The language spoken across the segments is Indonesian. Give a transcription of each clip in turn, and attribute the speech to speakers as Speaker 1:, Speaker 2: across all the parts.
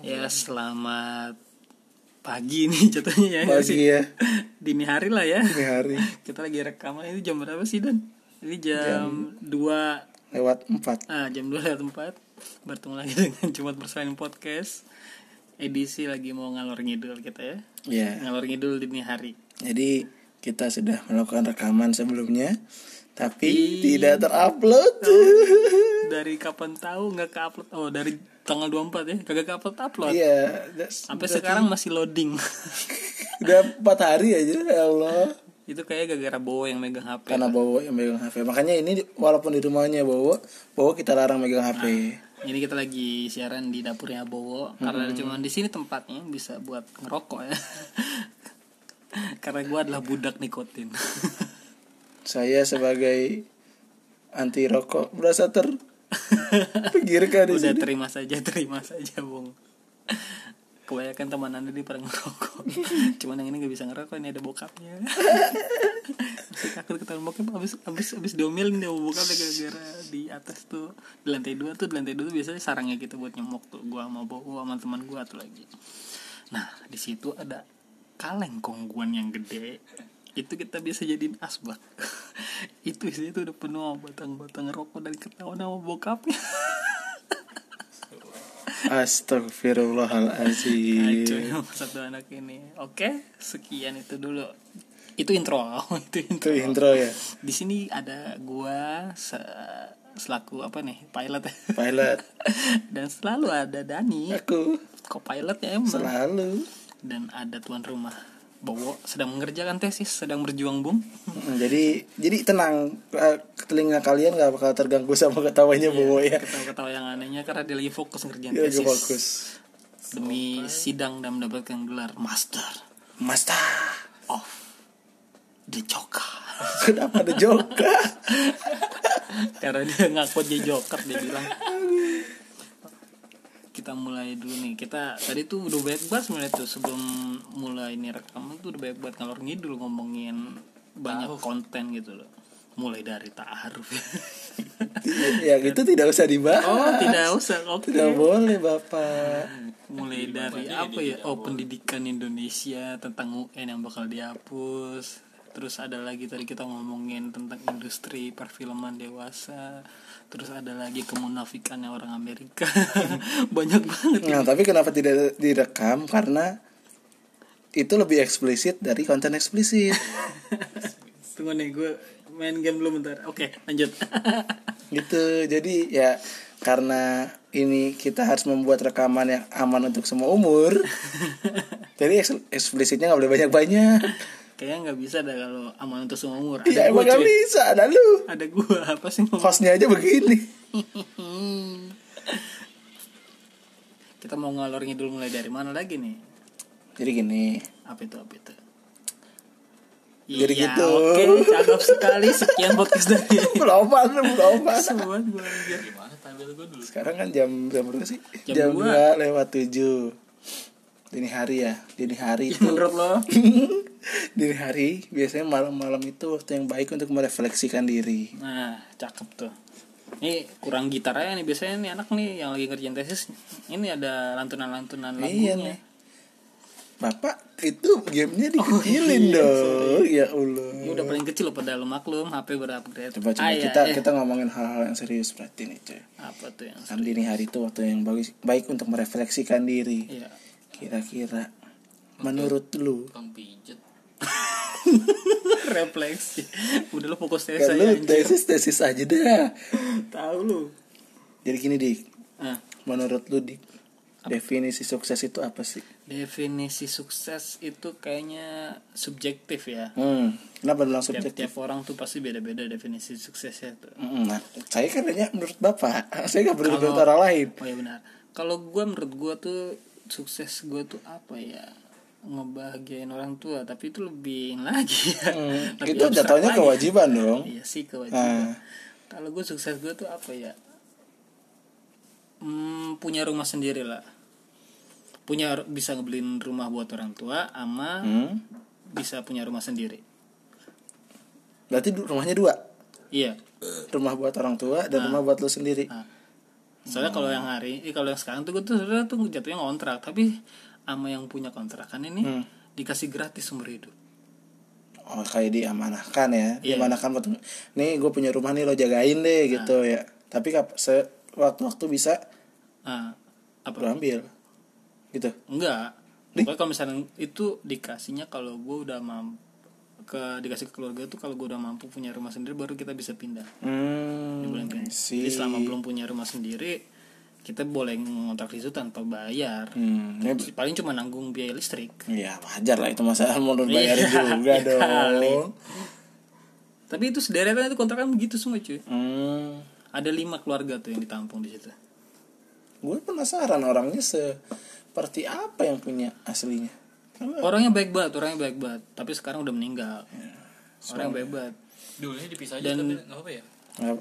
Speaker 1: Ya selamat pagi nih jatuhnya ya nggak
Speaker 2: Pagi
Speaker 1: sih?
Speaker 2: ya.
Speaker 1: Dini hari lah ya
Speaker 2: Ini hari
Speaker 1: Kita lagi rekaman itu jam berapa sih Dan? Ini jam, 2
Speaker 2: lewat 4
Speaker 1: Ah jam 2 lewat 4 Bertemu lagi dengan Jumat Bersalin Podcast Edisi lagi mau ngalor ngidul kita ya
Speaker 2: Ya
Speaker 1: Ngalor ngidul dini hari
Speaker 2: Jadi kita sudah melakukan rekaman sebelumnya Tapi
Speaker 1: Ih.
Speaker 2: tidak terupload
Speaker 1: Dari kapan tahu nggak ke upload Oh dari tanggal 24 ya Kagak ke upload upload
Speaker 2: Iya that's-
Speaker 1: Sampai
Speaker 2: that's-
Speaker 1: sekarang masih loading
Speaker 2: Udah 4 hari aja ya Allah
Speaker 1: Itu kayak gara-gara Bowo yang megang HP
Speaker 2: Karena Bowo yang megang HP Makanya ini walaupun di rumahnya Bowo Bowo kita larang megang HP
Speaker 1: Jadi kita lagi siaran di dapurnya Bowo karena cuma di sini tempatnya bisa buat ngerokok ya. karena gua adalah budak nikotin.
Speaker 2: Saya sebagai anti rokok berasa ter Pikirkan di
Speaker 1: Udah
Speaker 2: sini
Speaker 1: terima saja, terima saja, Bung. Kebanyakan teman Anda di pada ngerokok. Cuman yang ini gak bisa ngerokok, ini ada bokapnya. Masih takut ketahuan bokap abis abis abis diomelin dia sama bokapnya gara-gara di atas tuh di lantai dua tuh di lantai dua tuh biasanya sarangnya gitu buat nyemok tuh gua sama bawa sama teman gua tuh lagi. Nah di situ ada kaleng kongguan yang gede itu kita bisa jadiin asbak itu isinya tuh udah penuh sama batang-batang rokok dan ketahuan sama bokapnya Kacau
Speaker 2: Astagfirullahaladzim
Speaker 1: emang satu anak ini. Oke, sekian itu dulu. Itu intro, itu
Speaker 2: Itu
Speaker 1: intro.
Speaker 2: intro ya
Speaker 1: Di sini ada gua se- selaku apa nih pilot
Speaker 2: Pilot
Speaker 1: dan selalu ada Dani
Speaker 2: Aku
Speaker 1: co-pilot ya emang
Speaker 2: selalu
Speaker 1: dan ada tuan rumah Bowo sedang mengerjakan tesis sedang berjuang bung
Speaker 2: Mm, jadi jadi tenang eh, telinga kalian gak bakal terganggu sama ketawanya Bowo ya
Speaker 1: ketawa-ketawa yang anehnya karena dia lagi fokus ngerjain
Speaker 2: dia Iya, lagi
Speaker 1: tesis
Speaker 2: fokus
Speaker 1: demi sidang dan mendapatkan gelar master
Speaker 2: Master
Speaker 1: of the Joker
Speaker 2: kenapa ada joka
Speaker 1: karena dia ngaku dia joker dia bilang kita mulai dulu nih kita tadi tuh udah banyak banget sebenarnya tuh sebelum mulai ini rekaman tuh udah banyak banget ngalor ngidul ngomongin banyak konten gitu loh mulai dari ta'aruf
Speaker 2: ya itu tidak usah dibahas
Speaker 1: oh tidak usah oke
Speaker 2: Tidak boleh bapak
Speaker 1: mulai dari apa ya oh pendidikan Indonesia tentang UN yang bakal dihapus terus ada lagi tadi kita ngomongin tentang industri perfilman dewasa terus ada lagi kemunafikannya orang Amerika banyak banget
Speaker 2: nah tapi kenapa tidak direkam karena itu lebih eksplisit dari konten eksplisit
Speaker 1: tunggu nih gue main game dulu bentar oke lanjut
Speaker 2: gitu jadi ya karena ini kita harus membuat rekaman yang aman untuk semua umur jadi eks- eksplisitnya nggak boleh banyak banyak
Speaker 1: kayaknya nggak bisa dah kalau aman untuk semua umur ada gue
Speaker 2: ya emang
Speaker 1: Iya,
Speaker 2: nggak
Speaker 1: cuy
Speaker 2: bisa ada lu
Speaker 1: ada gue apa sih ngomong
Speaker 2: kosnya aja begini
Speaker 1: kita mau ngalor ngidul mulai dari mana lagi nih
Speaker 2: jadi gini
Speaker 1: apa itu apa itu
Speaker 2: Jadi
Speaker 1: Iya,
Speaker 2: gitu.
Speaker 1: oke cakep sekali sekian podcast dari
Speaker 2: belopan belopan
Speaker 1: Semuanya gue anjir
Speaker 2: sekarang kan jam jam berapa sih
Speaker 1: Jam
Speaker 2: jam
Speaker 1: dua.
Speaker 2: dua lewat tujuh dini hari ya dini hari itu
Speaker 1: menurut lo
Speaker 2: dini hari biasanya malam-malam itu waktu yang baik untuk merefleksikan diri
Speaker 1: nah cakep tuh ini kurang gitar aja nih biasanya nih anak nih yang lagi ngerjain tesis ini ada lantunan-lantunan
Speaker 2: Iya
Speaker 1: lagunya
Speaker 2: nih. Bapak itu gamenya
Speaker 1: Oh, iya,
Speaker 2: dikecilin dong. Ya Allah.
Speaker 1: ini udah paling kecil loh padahal lo maklum HP berupgrade
Speaker 2: Coba coba
Speaker 1: Ah, iya,
Speaker 2: kita
Speaker 1: eh,
Speaker 2: kita ngomongin hal-hal yang serius berarti nih cuy.
Speaker 1: apa tuh yang
Speaker 2: Kan dini hari itu waktu yang bagus, baik untuk merefleksikan diri.
Speaker 1: iya
Speaker 2: Kira-kira menurut lu,
Speaker 1: refleksi udah lo fokus tesis
Speaker 2: kan lu
Speaker 1: aja
Speaker 2: tesis tesis aja dah.
Speaker 1: tahu lo
Speaker 2: Jadi gini dik,
Speaker 1: nah
Speaker 2: menurut lu dik, definisi sukses itu apa sih?
Speaker 1: definisi sukses itu kayaknya subjektif ya
Speaker 2: Hmm, kenapa bilang
Speaker 1: tiap
Speaker 2: subjektif?
Speaker 1: tiap orang tuh pasti beda-beda definisi suksesnya tuh
Speaker 2: Mm, Nah, saya kan nanya menurut bapak, saya nggak berdebat
Speaker 1: Kalau-
Speaker 2: orang lain.
Speaker 1: oh ya benar kalau gue menurut gue tuh sukses gue tuh apa ya ngebahagiain orang tua tapi itu lebih ini lagi ya. Lebih
Speaker 2: Hmm, itu
Speaker 1: abstrak
Speaker 2: jatuhnya
Speaker 1: lagi.
Speaker 2: kewajiban dong.
Speaker 1: iya sih
Speaker 2: Ah.
Speaker 1: kewajiban kalau gue sukses gue tuh apa ya Hmm, punya rumah sendiri lah punya bisa ngebeliin rumah buat orang tua ama
Speaker 2: Hmm.
Speaker 1: bisa punya rumah sendiri
Speaker 2: Berarti du- rumahnya dua.
Speaker 1: iya Ah.
Speaker 2: Rumah buat orang tua dan rumah buat lu sendiri.
Speaker 1: Nah, soalnya kalau yang hari eh kalau yang sekarang tuh gue tuh sebenarnya tuh jatuhnya ngontrak tapi sama yang punya kontrakan ini dikasih gratis seumur hidup
Speaker 2: oh kayak diamanahkan ya
Speaker 1: Iya. Ah.
Speaker 2: diamanahkan waktu nih gue punya rumah nih lo jagain deh gitu ya tapi kap se waktu waktu bisa
Speaker 1: nah, apa
Speaker 2: lo ambil gitu
Speaker 1: enggak pokoknya kalau misalnya itu dikasihnya kalau gue udah mampu ke dikasih ke keluarga tuh kalau gue udah mampu punya rumah sendiri baru kita bisa pindah
Speaker 2: hmm,
Speaker 1: bulan ini.
Speaker 2: I see.
Speaker 1: Jadi selama belum punya rumah sendiri, kita boleh ngontrak di situ tanpa bayar.
Speaker 2: hmm, ini-
Speaker 1: Paling cuma nanggung biaya listrik.
Speaker 2: ya wajar lah itu masa mau bayarin
Speaker 1: Iya,
Speaker 2: juga
Speaker 1: iya kali.
Speaker 2: dong
Speaker 1: Tapi itu sederetan itu kontrakan begitu semua cuy.
Speaker 2: hmm.
Speaker 1: Ada lima keluarga tuh yang ditampung di situ.
Speaker 2: gue penasaran orangnya seperti apa yang punya aslinya Karena
Speaker 1: Orangnya baik banget, orangnya baik banget. Tapi sekarang udah meninggal. Orang yang baik banget.
Speaker 3: Dulunya dipisah aja
Speaker 1: Dan-
Speaker 3: tapi nggak apa ya.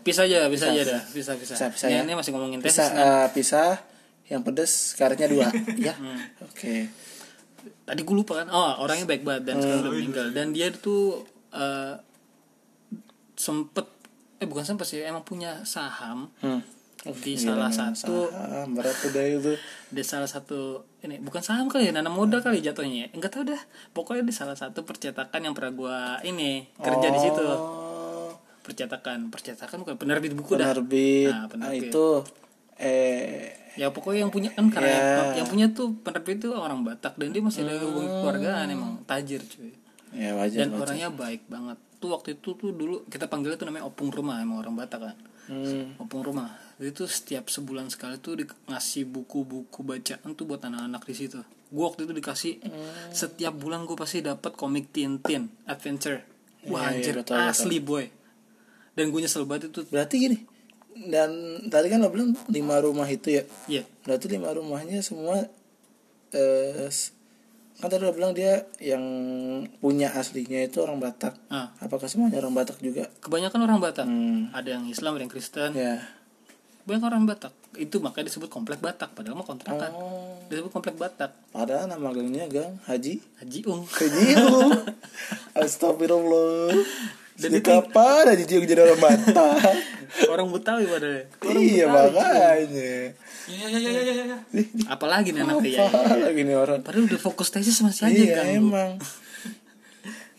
Speaker 1: Pisah aja, pisah aja dah, pisah pisah.
Speaker 2: Pisah, pisah
Speaker 1: Ini-
Speaker 2: ya.
Speaker 1: ini masih ngomongin
Speaker 2: pisah
Speaker 1: tesis.
Speaker 2: eh, pisah yang pedes karetnya dua ya oke
Speaker 1: Tadi gue lupa kan. Oh, orangnya baik banget dan
Speaker 3: Oh, iya.
Speaker 1: sekarang udah meninggal. Dan dia tuh eh, sempet eh bukan sempet sih, emang punya saham
Speaker 2: hmm.
Speaker 1: di salah satu
Speaker 2: ah, berat udah itu
Speaker 1: di salah satu ini bukan saham kali ya nanam modal kali jatuhnya ya enggak tahu dah pokoknya di salah satu percetakan yang pernah gua ini kerja di situ
Speaker 2: oh
Speaker 1: percetakan percetakan bukan penerbit buku dah
Speaker 2: penerbit
Speaker 1: Nah,
Speaker 2: Ah,
Speaker 1: penerbit.
Speaker 2: itu eh
Speaker 1: ya pokoknya yang punya kan karena
Speaker 2: Ya.
Speaker 1: yang punya tuh penerbit itu orang Batak dan dia masih ada
Speaker 2: Hmm.
Speaker 1: hubungan keluargaan emang tajir cuy
Speaker 2: ya wajar
Speaker 1: dan orangnya baik banget tuh waktu itu tuh dulu kita panggilnya tuh namanya opung rumah emang orang Batak kan
Speaker 2: Hmm.
Speaker 1: opung rumah itu setiap sebulan sekali tuh di- ngasih buku-buku bacaan tuh buat anak-anak di situ gue waktu itu dikasih
Speaker 2: Hmm.
Speaker 1: setiap bulan gue pasti dapat komik Tintin Adventure wah
Speaker 2: Iya, iya,
Speaker 1: anjir
Speaker 2: betul, betul.
Speaker 1: asli boy dan gue nyesel banget itu
Speaker 2: berarti gini dan tadi kan lo bilang lima rumah itu ya
Speaker 1: ya
Speaker 2: berarti lima rumahnya semua eh s- kan tadi lo bilang dia yang punya aslinya itu orang Batak
Speaker 1: Ah.
Speaker 2: apakah semuanya orang Batak juga
Speaker 1: kebanyakan orang Batak
Speaker 2: Hmm.
Speaker 1: ada yang Islam ada yang Kristen
Speaker 2: ya
Speaker 1: banyak orang Batak itu makanya disebut komplek Batak padahal mah kontrakan
Speaker 2: oh
Speaker 1: disebut komplek Batak
Speaker 2: padahal nama gengnya gang Haji
Speaker 1: Haji Ung
Speaker 2: Kejiu Astagfirullah
Speaker 1: Dan
Speaker 2: Sejak kapan Haji Jiung jadi orang Batak
Speaker 1: orang Betawi padahal
Speaker 2: Iya makanya
Speaker 3: Ya ya ya ya ya, ya ya.
Speaker 1: apalagi nih anak ya
Speaker 2: Apa lagi nih orang
Speaker 1: padahal udah fokus tesis masih aja
Speaker 2: Iya
Speaker 1: kan
Speaker 2: emang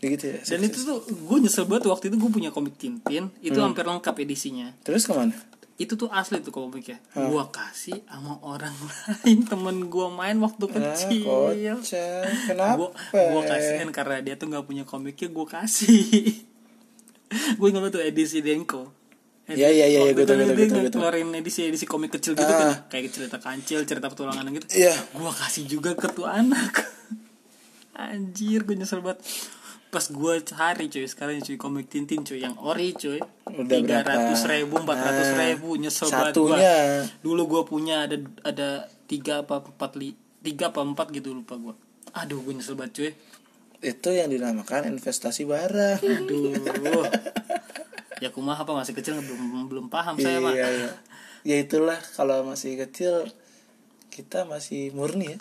Speaker 2: Gitu ya
Speaker 1: dan itu tuh gue nyesel banget waktu itu gue punya komik Tintin itu
Speaker 2: Hmm.
Speaker 1: hampir lengkap edisinya
Speaker 2: Terus kemana?
Speaker 1: itu tuh asli tuh komiknya
Speaker 2: Hmm.
Speaker 1: gue kasih sama orang lain temen gue main waktu kecil
Speaker 2: Ah, kocak. Kenapa?
Speaker 1: gue gue kasihin karena dia tuh nggak punya komiknya gue kasih gue ingat banget tuh edisi Denko
Speaker 2: Iya, iya, iya,
Speaker 1: Waktu
Speaker 2: gue tau,
Speaker 1: itu
Speaker 2: gue
Speaker 1: dia
Speaker 2: tau, gue tau, gue tau.
Speaker 1: ngeluarin edisi edisi komik kecil gitu
Speaker 2: Ah.
Speaker 1: kan kayak cerita kancil cerita petualangan gitu
Speaker 2: Iya.
Speaker 1: gue kasih juga ke tuh anak anjir gue nyesel banget pas gue cari cuy sekarang cuy komik Tintin cuy yang ori cuy
Speaker 2: Udah
Speaker 1: tiga ratus
Speaker 2: berapa?
Speaker 1: ribu empat ratus
Speaker 2: Nah,
Speaker 1: ribu nyesel
Speaker 2: satunya.
Speaker 1: banget gue dulu gue punya ada ada tiga apa empat li tiga apa empat gitu lupa gue aduh gue nyesel banget cuy
Speaker 2: Itu yang dinamakan investasi barang.
Speaker 1: aduh ya kumaha apa masih kecil belum belum paham saya pak
Speaker 2: iya, iya. Ya itulah kalau masih kecil kita masih murni ya.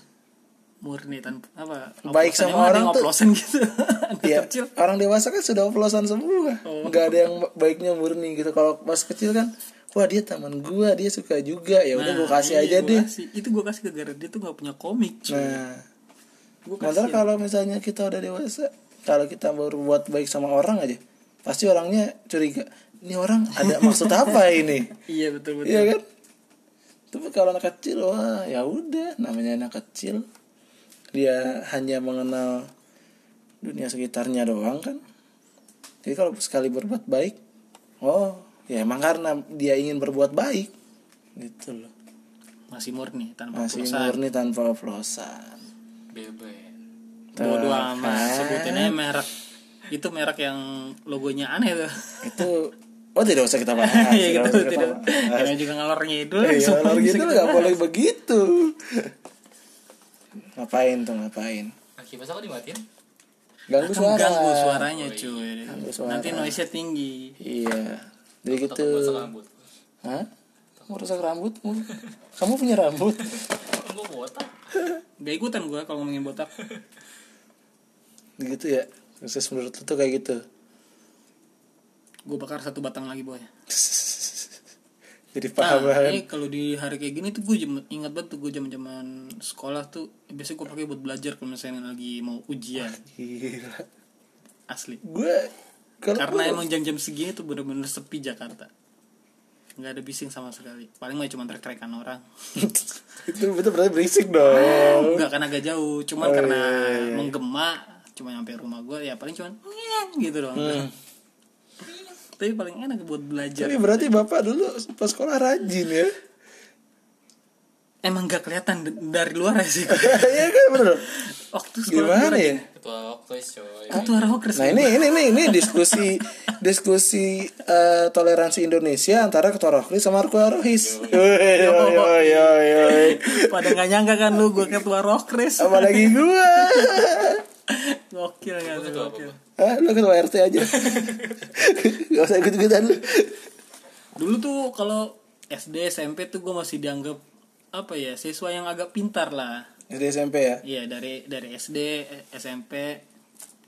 Speaker 1: murni tanpa apa
Speaker 2: Baik
Speaker 1: oplosan. Emang
Speaker 2: sama
Speaker 1: ada
Speaker 2: orang
Speaker 1: yang
Speaker 2: tuh-
Speaker 1: oplosan gitu anak
Speaker 2: Iya,
Speaker 1: kecil Oh.
Speaker 2: orang dewasa kan sudah oplosan semua. nggak ada yang baiknya murni gitu. Kalau pas kecil kan, wah dia teman gua, dia suka juga. Ya udah
Speaker 1: Nah,
Speaker 2: gua
Speaker 1: iya,
Speaker 2: kasih aja
Speaker 1: gua
Speaker 2: deh.
Speaker 1: kasih. itu gue kasih ke gara dia tuh gak punya komik cuy
Speaker 2: Nah,
Speaker 1: Gua
Speaker 2: Padahal
Speaker 1: kasih.
Speaker 2: kalau misalnya kita udah dewasa, kalau kita baru buat baik sama orang aja, pasti orangnya curiga. Ini orang ada maksud apa ini?
Speaker 1: iya betul betul
Speaker 2: Iya kan? Tapi kalau anak kecil, wah ya udah, namanya anak kecil, dia hanya mengenal dunia sekitarnya doang kan. Jadi kalau sekali berbuat baik, oh ya emang karena dia ingin berbuat baik, gitu loh.
Speaker 1: masih murni tanpa
Speaker 2: Masih
Speaker 1: oplosan
Speaker 2: murni tanpa oplosan.
Speaker 3: Beben.
Speaker 1: bodo amat
Speaker 2: Kan?
Speaker 1: sebutin aja merek itu merek yang logonya aneh tuh
Speaker 2: itu oh tidak usah kita bahas
Speaker 1: Iya
Speaker 2: tidak
Speaker 1: gitu
Speaker 2: usah kita
Speaker 1: tidak
Speaker 2: bahas.
Speaker 1: Yang juga ngalor ngidul
Speaker 2: Iya,
Speaker 1: semuanya
Speaker 2: kalau
Speaker 1: bisa
Speaker 2: gitu
Speaker 1: kita
Speaker 2: nggak
Speaker 1: bahas.
Speaker 2: boleh begitu ngapain tuh ngapain
Speaker 3: Nah, kipas aku dimatiin.
Speaker 1: Akan
Speaker 2: ganggu suara
Speaker 1: ganggu suaranya cuy
Speaker 2: suara.
Speaker 1: nanti noise nya tinggi
Speaker 2: iya jadi gitu
Speaker 3: Takut bosan rambut.
Speaker 2: Hah? kamu rusak rambutmu kamu punya rambut
Speaker 3: Gue botak.
Speaker 1: gak ikutan gue kalau ngomongin botak
Speaker 2: gitu ya Terus menurut lu tuh kayak gitu
Speaker 1: gue bakar satu batang lagi boy
Speaker 2: jadi
Speaker 1: Nah,
Speaker 2: paham lah kan
Speaker 1: ini kalau di hari kayak gini tuh gue jam, ingat banget tuh gue zaman zaman sekolah tuh biasanya gue pakai buat belajar kalau misalnya lagi mau ujian
Speaker 2: gila
Speaker 1: asli.
Speaker 2: gue kalau
Speaker 1: Karena
Speaker 2: gua-
Speaker 1: emang jam-jam segini tuh bener-bener sepi Jakarta. Nggak ada bising sama sekali. Paling mah cuma terkerekan orang.
Speaker 2: itu betul berarti berisik dong
Speaker 1: Enggak kan agak jauh, cuman
Speaker 2: Oh,
Speaker 1: karena
Speaker 2: iya, iya, iya.
Speaker 1: menggema cuma nyampe rumah gue ya paling cuman "Nyeng" gitu doang.
Speaker 2: Hmm.
Speaker 1: Tapi paling enak buat belajar.
Speaker 2: jadi berarti bapak dulu pas sekolah rajin ya
Speaker 1: Emang gak kelihatan d- dari luar ya sih. gua.
Speaker 2: Iya kan bener
Speaker 1: Waktu sekolah
Speaker 2: gimana
Speaker 1: gua-
Speaker 2: ya
Speaker 3: ketua waktu coy
Speaker 1: Waktu arah Hokers.
Speaker 2: nah ini ini ini ini diskusi diskusi eh, toleransi Indonesia antara ketua rohis sama ketua rohis Yoi, yoi, yoi, yoi.
Speaker 1: Pada gak nyangka kan lu gue ketua Rokres.
Speaker 2: apalagi gua
Speaker 1: Gokil gak
Speaker 3: Gua
Speaker 1: tuh,
Speaker 3: ketua
Speaker 1: gokil.
Speaker 3: apa, gua?
Speaker 2: Hah, lu ketua RT aja gak usah ikut ikutan lu
Speaker 1: Dulu tuh kalau SD SMP tuh gue masih dianggap apa ya siswa yang agak pintar lah.
Speaker 2: SD SMP ya
Speaker 1: Iya dari dari SD eh, SMP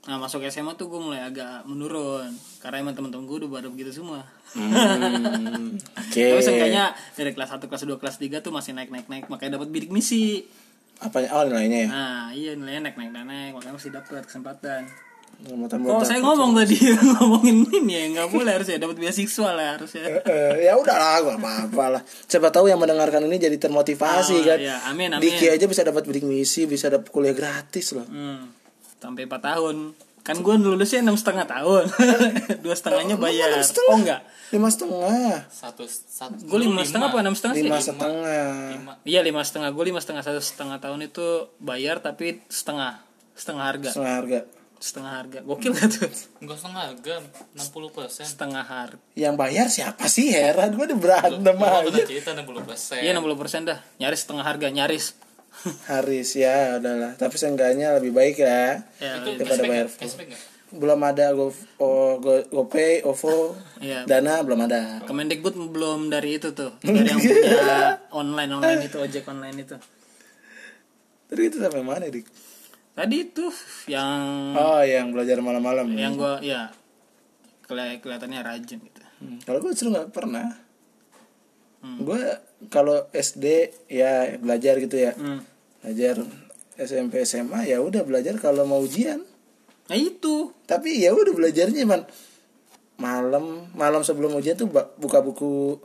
Speaker 1: nah masuk SMA tuh gue mulai agak menurun karena emang temen-temen gue udah pada begitu semua
Speaker 2: Hmm, oke
Speaker 1: tapi seenggaknya dari kelas 1, kelas 2, kelas 3 tuh masih naik naik naik makanya dapat bidik misi
Speaker 2: apa oh nilainya ya
Speaker 1: nah iya nilainya naik naik naik, naik makanya masih dapat kesempatan
Speaker 2: Selamat
Speaker 1: kalau Oh,
Speaker 2: buat-
Speaker 1: saya ngomong tadi ngomongin ini ya nggak boleh harusnya dapat beasiswa lah harusnya
Speaker 2: Eh, ya udahlah gak apa-apa lah siapa tahu yang mendengarkan ini jadi termotivasi
Speaker 1: Ah,
Speaker 2: kan
Speaker 1: iya. Amin, amin.
Speaker 2: Diki aja bisa dapat bidik misi bisa dapat kuliah gratis loh
Speaker 1: hmm, sampai 4 tahun kan gue lulusnya enam setengah tahun dua setengahnya bayar
Speaker 2: enam setengah?
Speaker 1: oh enggak
Speaker 2: lima setengah
Speaker 3: satu satu
Speaker 1: gue lima setengah apa enam setengah sih
Speaker 2: lima setengah
Speaker 3: lima
Speaker 1: Iya lima setengah gue lima setengah satu setengah tahun itu bayar tapi setengah setengah harga
Speaker 2: setengah harga
Speaker 1: setengah harga gokil gak tuh
Speaker 3: enggak setengah gam enam puluh persen
Speaker 1: setengah harga
Speaker 2: yang bayar siapa sih heran gue berantem aja
Speaker 3: pernah cerita enam puluh persen
Speaker 1: iya enam puluh persen dah nyaris setengah harga nyaris
Speaker 2: Haris ya udahlah tapi seenggaknya lebih baik ya
Speaker 1: ya
Speaker 3: itu
Speaker 2: Daripada
Speaker 3: cashback
Speaker 2: bayar
Speaker 3: nggak? cashback nggak?
Speaker 2: belum ada go oh, go gopay ovo
Speaker 1: Iya.
Speaker 2: dana belum ada
Speaker 1: Kemendikbud belum dari itu tuh dari yang punya online online itu ojek online itu
Speaker 2: tadi itu gitu sampai mana dik
Speaker 1: tadi itu yang
Speaker 2: oh yang belajar malam-malam
Speaker 1: Hmm. yang gue ya keli- kelihatannya rajin gitu
Speaker 2: Hmm, Kalau gue justru nggak pernah.
Speaker 1: Hmm.
Speaker 2: Gue kalau SD ya belajar gitu ya,
Speaker 1: hmm.
Speaker 2: belajar SMP SMA ya udah belajar kalau mau ujian.
Speaker 1: nah itu
Speaker 2: Tapi ya udah belajarnya cuman malam malam sebelum ujian tuh ba- buka buku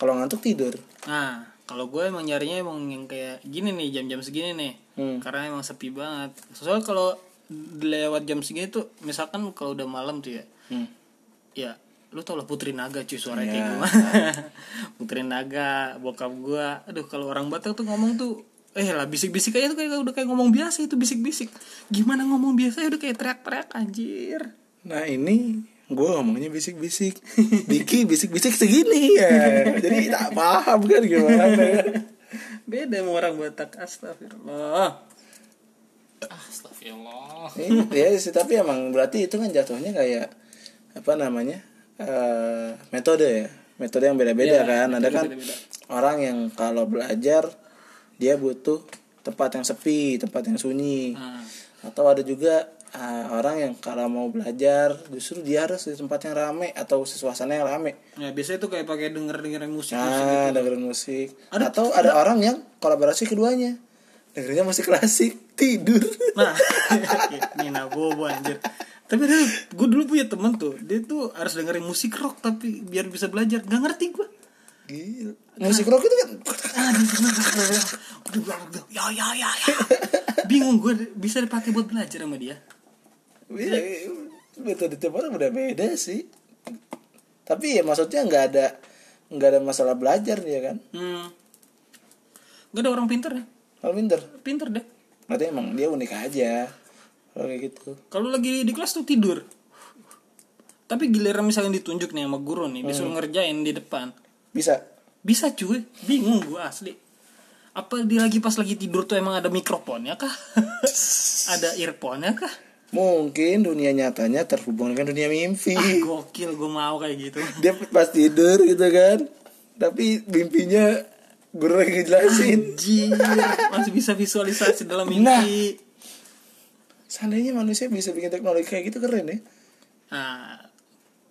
Speaker 2: kalau ngantuk tidur.
Speaker 1: Nah, kalau gue emang nyarinya emang yang kayak gini nih jam-jam segini nih.
Speaker 2: Hmm.
Speaker 1: Karena emang sepi banget. Soalnya kalau lewat jam segini tuh misalkan kalau udah malam tuh ya. Ya, lu tau lah Putri Naga cuy suaranya kayak
Speaker 2: Ya.
Speaker 1: gimana. Putri Naga, bokap gue. Aduh, kalau orang Batak tuh ngomong tuh Eh lah bisik-bisik aja tuh kayak udah kayak ngomong biasa itu bisik-bisik. Gimana ngomong biasa ya udah kayak teriak-teriak anjir.
Speaker 2: Nah ini gue ngomongnya bisik-bisik, Diki bisik-bisik segini ya. Jadi tak paham kan gimana.
Speaker 1: Beda sama orang Batak astagfirullah.
Speaker 3: ah astagfirullah
Speaker 2: Iya iya sih tapi emang berarti itu kan jatuhnya kayak apa namanya eh, metode ya metode yang beda-beda
Speaker 1: Iya,
Speaker 2: kan ada
Speaker 1: metode
Speaker 2: kan
Speaker 1: beda-beda.
Speaker 2: orang yang kalau belajar dia butuh tempat yang sepi tempat yang sunyi
Speaker 1: Nah,
Speaker 2: atau ada juga eh, orang yang kalau mau belajar justru dia harus di tempat yang rame atau suasana yang rame
Speaker 1: ya biasanya tuh kayak pakai gitu. denger-dengerin musik.
Speaker 2: nah dengerin musik atau ada orang yang kolaborasi keduanya dengerinnya musik klasik tidur
Speaker 1: Nah, Nina Bobo anjir. Tapi dulu, gue dulu punya temen tuh, dia tuh harus dengerin musik rock tapi biar bisa belajar. Gak ngerti Ah, gue.
Speaker 2: Gila. musik rock itu kan
Speaker 1: Ya ya ya. ya. Bingung gue bisa dipakai buat belajar sama dia.
Speaker 2: Iya, metode tiap orang beda-beda sih. Tapi ya maksudnya nggak ada nggak ada masalah belajar dia kan.
Speaker 1: Hmm. Gak ada orang pinter ya?
Speaker 2: Kalau minder,
Speaker 1: Pinter deh.
Speaker 2: berarti emang dia unik aja. Kalau kayak gitu.
Speaker 1: Kalau lagi di kelas tuh tidur. Tapi giliran misalnya ditunjuk nih sama guru nih, disuruh ngerjain di depan.
Speaker 2: Bisa.
Speaker 1: Bisa cuy, bingung gue asli. Apa dia lagi pas lagi tidur tuh emang ada mikrofonnya kah? ada earphone-nya kah?
Speaker 2: Mungkin dunia nyatanya terhubung dengan dunia mimpi.
Speaker 1: Ah, gokil gue mau kayak gitu.
Speaker 2: Dia pas tidur gitu kan. Tapi mimpinya guru lagi ngejelasin.
Speaker 1: Anjir, masih bisa visualisasi dalam
Speaker 2: Nah.
Speaker 1: mimpi.
Speaker 2: Seandainya manusia bisa bikin teknologi kayak gitu keren ya.
Speaker 1: Nah,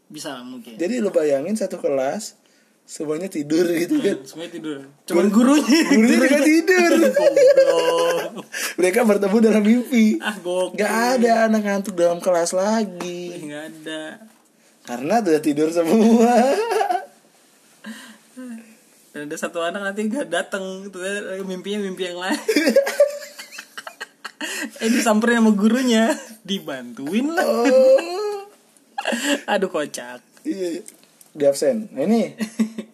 Speaker 1: bisa lah mungkin.
Speaker 2: Jadi lu bayangin satu kelas semuanya tidur gitu kan
Speaker 1: Semuanya tidur. Cuman gurunya.
Speaker 2: gurunya juga tidur
Speaker 1: Goblok.
Speaker 2: mereka bertemu dalam mimpi
Speaker 1: Ah gokil.
Speaker 2: nggak ada anak ngantuk dalam kelas lagi
Speaker 1: Nggak ada.
Speaker 2: karena udah tidur semua
Speaker 1: Dan ada satu anak nanti gak datang gitu ya, mimpinya mimpi yang lain. eh disamperin sama gurunya, dibantuin lah.
Speaker 2: oh
Speaker 1: Aduh kocak.
Speaker 2: iya di absen Nah, ini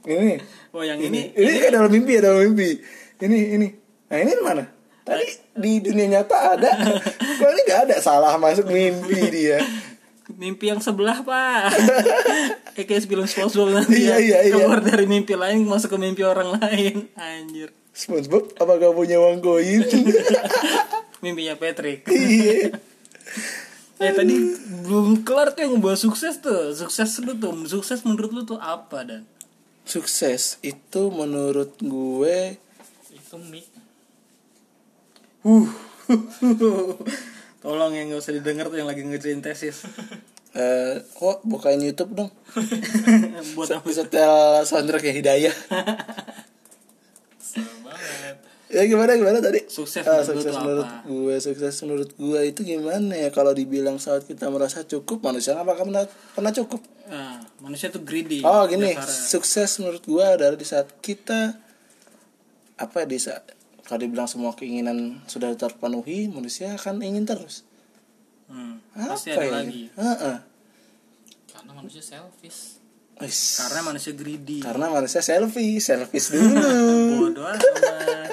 Speaker 2: ini
Speaker 1: Oh yang
Speaker 2: ini
Speaker 1: ini
Speaker 2: ini kan dalam mimpi ya dalam mimpi ini ini nah ini di mana tadi di dunia nyata ada kok ini nggak ada salah masuk mimpi dia
Speaker 1: mimpi yang sebelah pak. eh kayak film SpongeBob nanti
Speaker 2: Iya,
Speaker 1: ya.
Speaker 2: iya, iya.
Speaker 1: Keluar dari mimpi lain masuk ke mimpi orang lain. Anjir.
Speaker 2: SpongeBob apa gak punya uang koin
Speaker 1: Mimpinya Patrick.
Speaker 2: iya
Speaker 1: Eh tadi belum kelar tuh yang bahas sukses tuh Sukses lu tuh Sukses menurut lu tuh apa dan
Speaker 2: sukses itu menurut gue
Speaker 3: Itu mie.
Speaker 2: Uh.
Speaker 1: Huh Tolong yang gak usah didengar tuh yang lagi ngerjain tesis
Speaker 2: eh kok bukain YouTube dong
Speaker 1: Buat apa
Speaker 2: setel soundtrack ya Hidayah
Speaker 3: Serem banget.
Speaker 2: ya gimana gimana tadi
Speaker 1: Sukses menurut
Speaker 2: Ah,
Speaker 1: lu
Speaker 2: sukses
Speaker 1: tuh
Speaker 2: menurut
Speaker 1: apa?
Speaker 2: gue sukses menurut gue itu gimana ya kalau dibilang saat kita merasa cukup manusia apakah pernah pernah cukup
Speaker 1: Nah, Manusia tuh greedy
Speaker 2: oh gini
Speaker 1: Dasar.
Speaker 2: sukses menurut gue adalah di saat kita apa ya, di saat kalau dibilang semua keinginan sudah terpenuhi manusia akan ingin terus
Speaker 1: Hmm,
Speaker 2: apa
Speaker 1: Pasti ada
Speaker 2: ya?
Speaker 1: lagi
Speaker 2: Heeh.
Speaker 3: Karena manusia selfish.
Speaker 2: Wis.
Speaker 1: Karena manusia greedy
Speaker 2: karena manusia selfie selfish dulu
Speaker 1: Bodoh amat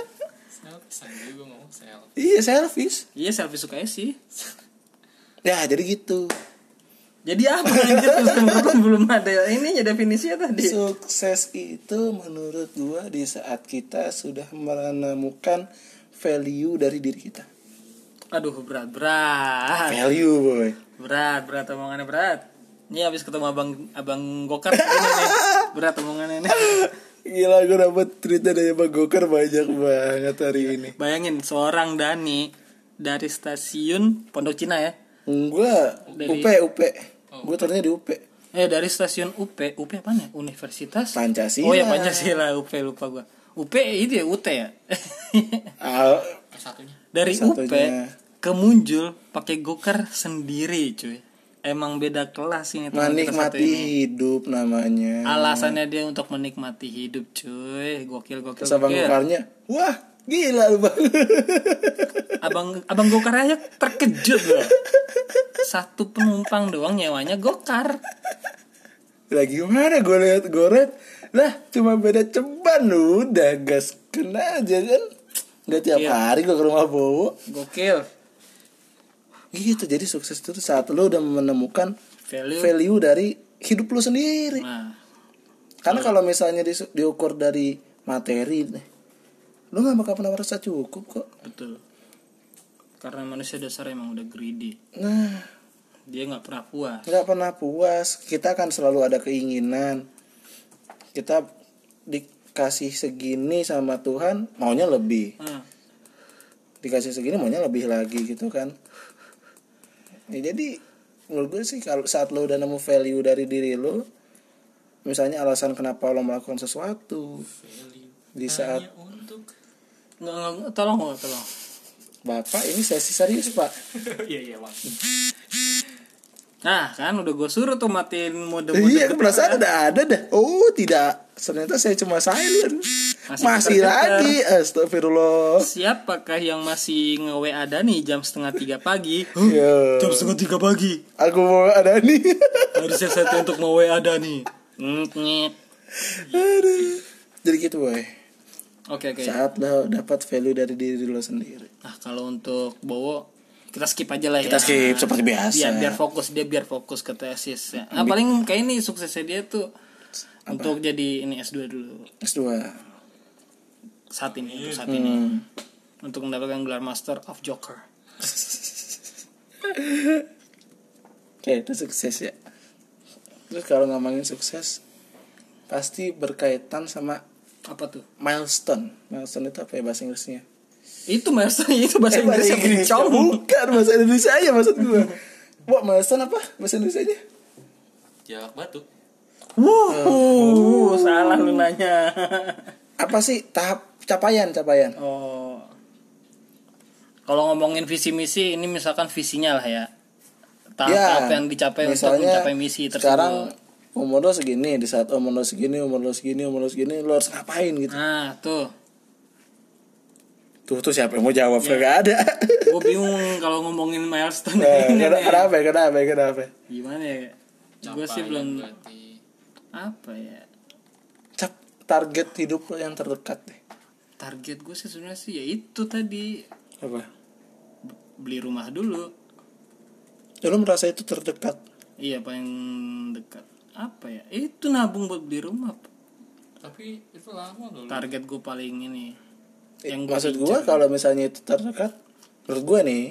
Speaker 3: Selfish aja gue ngomong selfish.
Speaker 2: iya selfish
Speaker 1: Iya selfie suka sih
Speaker 2: ya jadi gitu
Speaker 1: Jadi apa anjir Sukses menurut lu belum ada Ini ya definisinya tadi
Speaker 2: Sukses itu menurut gua di saat kita sudah menemukan value dari diri kita.
Speaker 1: Aduh berat berat
Speaker 2: Value boy.
Speaker 1: Berat, berat omongannya berat. Ini habis ketemu abang abang Gokar ini nih. Berat omongannya nih.
Speaker 2: Gila gue dapet cerita dari Bang Gokar banyak banget hari
Speaker 1: Iya.
Speaker 2: ini.
Speaker 1: Bayangin seorang Dani dari stasiun Pondok Cina ya.
Speaker 2: Gua
Speaker 1: Dari- Oh,
Speaker 2: UP UP. Gue ternyata di UP.
Speaker 1: Eh dari stasiun UP, UP apa ya? Universitas
Speaker 2: Pancasila.
Speaker 1: Oh ya Pancasila UP lupa gua. UP itu ya UT ya.
Speaker 2: Ah,
Speaker 3: Persatunya.
Speaker 1: dari UP
Speaker 2: Satunya.
Speaker 1: ke Munjul pakai Gokar sendiri cuy. Emang beda kelas ini teman kita satu
Speaker 2: menikmati
Speaker 1: ini.
Speaker 2: hidup namanya.
Speaker 1: Alasannya dia untuk menikmati hidup cuy. Gokil gokil.
Speaker 2: Terus Bang
Speaker 1: gokil.
Speaker 2: Gokarnya, wah gila lu bang.
Speaker 1: abang abang gokar aja terkejut loh satu penumpang doang nyewanya gokar
Speaker 2: Lagi gimana gue lihat goret Lah cuma beda ceban udah gas kena aja kan Gak tiap
Speaker 1: Iya.
Speaker 2: hari gue ke rumah Bowo
Speaker 1: gokil
Speaker 2: Gitu jadi sukses itu saat lo udah menemukan
Speaker 1: value,
Speaker 2: value dari hidup lo sendiri
Speaker 1: Iya. nah iya.
Speaker 2: Karena kalau misalnya disu- diukur dari materi nih Lo gak bakal pernah merasa cukup kok
Speaker 1: betul karena manusia dasar emang udah greedy
Speaker 2: Nah
Speaker 1: dia nggak pernah puas
Speaker 2: nggak pernah puas kita kan selalu ada keinginan kita dikasih segini sama Tuhan maunya lebih
Speaker 1: nah,
Speaker 2: dikasih segini maunya lebih lagi gitu kan ya, jadi menurut gue sih kalau saat lo udah nemu value dari diri lo misalnya alasan kenapa lo melakukan sesuatu
Speaker 3: Value.
Speaker 1: Nah,
Speaker 2: di saat
Speaker 1: iya.
Speaker 3: Hanya untuk.
Speaker 1: nggak nggak nggak, tolong nggak tolong
Speaker 2: bapak ini sesi serius pak
Speaker 3: Iya iya bang.
Speaker 1: nah kan udah gue suruh tuh matiin mode mode
Speaker 2: iya perasaan udah ada dah oh tidak ternyata saya cuma silent
Speaker 1: Masih
Speaker 2: masih
Speaker 1: ketergetar.
Speaker 2: lagi astagfirullah
Speaker 1: siapakah yang masih nge WA Dani jam setengah tiga pagi Huh?
Speaker 2: Yo.
Speaker 1: jam setengah tiga pagi
Speaker 2: aku mau ada nih
Speaker 1: harusnya satu untuk mau WA Dani Nyet, nyet.
Speaker 2: Aduh. jadi gitu boy
Speaker 1: Iya. oke oke
Speaker 2: saat lo dapat value dari diri lo sendiri
Speaker 1: Nah kalau untuk Bowo kita skip aja lah ya.
Speaker 2: Kita skip, seperti biasa.
Speaker 1: Biar, biar fokus dia biar fokus ke tesis. Ya. Nah, paling kayak ini suksesnya dia tuh untuk jadi ini S2 dulu
Speaker 2: S2
Speaker 1: saat ini untuk saat
Speaker 2: Hmm.
Speaker 1: ini untuk mendapatkan gelar Master of Joker.
Speaker 2: Oke, itu sukses ya. Terus kalau ngomongin sukses, pasti berkaitan sama
Speaker 1: Apa tuh?
Speaker 2: milestone. Milestone itu apa ya bahasa Inggrisnya?
Speaker 1: Itu master itu bahasa Inggris yang bencong.
Speaker 2: Bukan bahasa Indonesia ya maksud gue. Wah, milestone apa bahasa Indonesia nya?
Speaker 3: Jarak batu.
Speaker 1: Wuh, Uh, salah lu gunanya
Speaker 2: apa sih tahap capaian capaian
Speaker 1: oh kalau ngomongin visi misi ini misalkan visinya lah ya tahap-tahap yang dicapai untuk mencapai misi tersebut
Speaker 2: Ya, sekarang umur lo segini di saat umur lo segini umur lo segini umur lo segini lo harus ngapain gitu
Speaker 1: nah tuh
Speaker 2: tuh tuh siapa yang mau jawab
Speaker 1: Iya.
Speaker 2: kagak ada
Speaker 1: gue bingung kalau ngomongin milestone
Speaker 2: Eh,
Speaker 1: ini
Speaker 2: kenapa
Speaker 1: nih.
Speaker 2: kenapa kenapa kenapa
Speaker 1: gimana ya gue sih
Speaker 3: Capaian
Speaker 1: belum
Speaker 3: berarti
Speaker 1: apa ya
Speaker 2: cap target hidup lo yang terdekat deh
Speaker 1: target gue sih sebenarnya sih ya itu tadi
Speaker 2: apa
Speaker 1: beli rumah dulu
Speaker 2: ya, lo merasa itu terdekat
Speaker 1: iya paling dekat apa ya itu nabung buat beli rumah
Speaker 3: tapi itu lama loh
Speaker 1: target gue paling ini
Speaker 2: Eh,
Speaker 1: yang gue
Speaker 2: maksud gue kalau misalnya itu terdekat menurut gue nih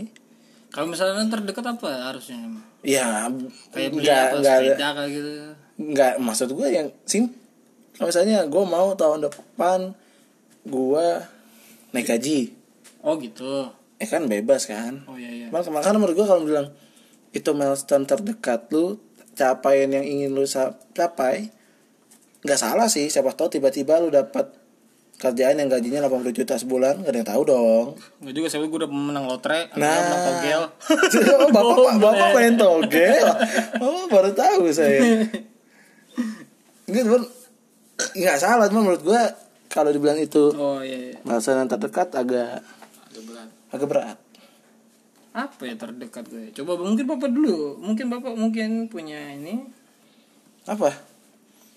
Speaker 1: kalau misalnya terdekat apa harusnya emang?
Speaker 2: ya
Speaker 1: kayak beli
Speaker 2: nggak
Speaker 1: apa
Speaker 2: nggak ada-
Speaker 1: sepeda kayak gitu
Speaker 2: nggak maksud gue yang sim kalau misalnya gue mau tahun depan gue naik gaji
Speaker 1: oh gitu
Speaker 2: eh kan bebas kan
Speaker 1: oh iya iya
Speaker 2: Mak- makanya menurut gue kalau bilang itu milestone terdekat lu capaian yang ingin lu sa- capai nggak salah sih siapa tahu tiba-tiba lu dapat kerjaan yang gajinya 80 juta sebulan gak ada yang tahu dong
Speaker 1: nggak juga siapa gue udah menang lotre atau
Speaker 2: Nah.
Speaker 1: menang togel
Speaker 2: Oh, bapak bapak main togel oh baru tahu saya Enggak, cuman nggak salah cuman menurut gue kalau dibilang itu
Speaker 1: oh iya, iya.
Speaker 2: milestone yang terdekat agak
Speaker 3: agak berat
Speaker 2: agak berat
Speaker 1: apa ya terdekat gue coba mungkin bapak dulu mungkin bapak mungkin punya ini
Speaker 2: apa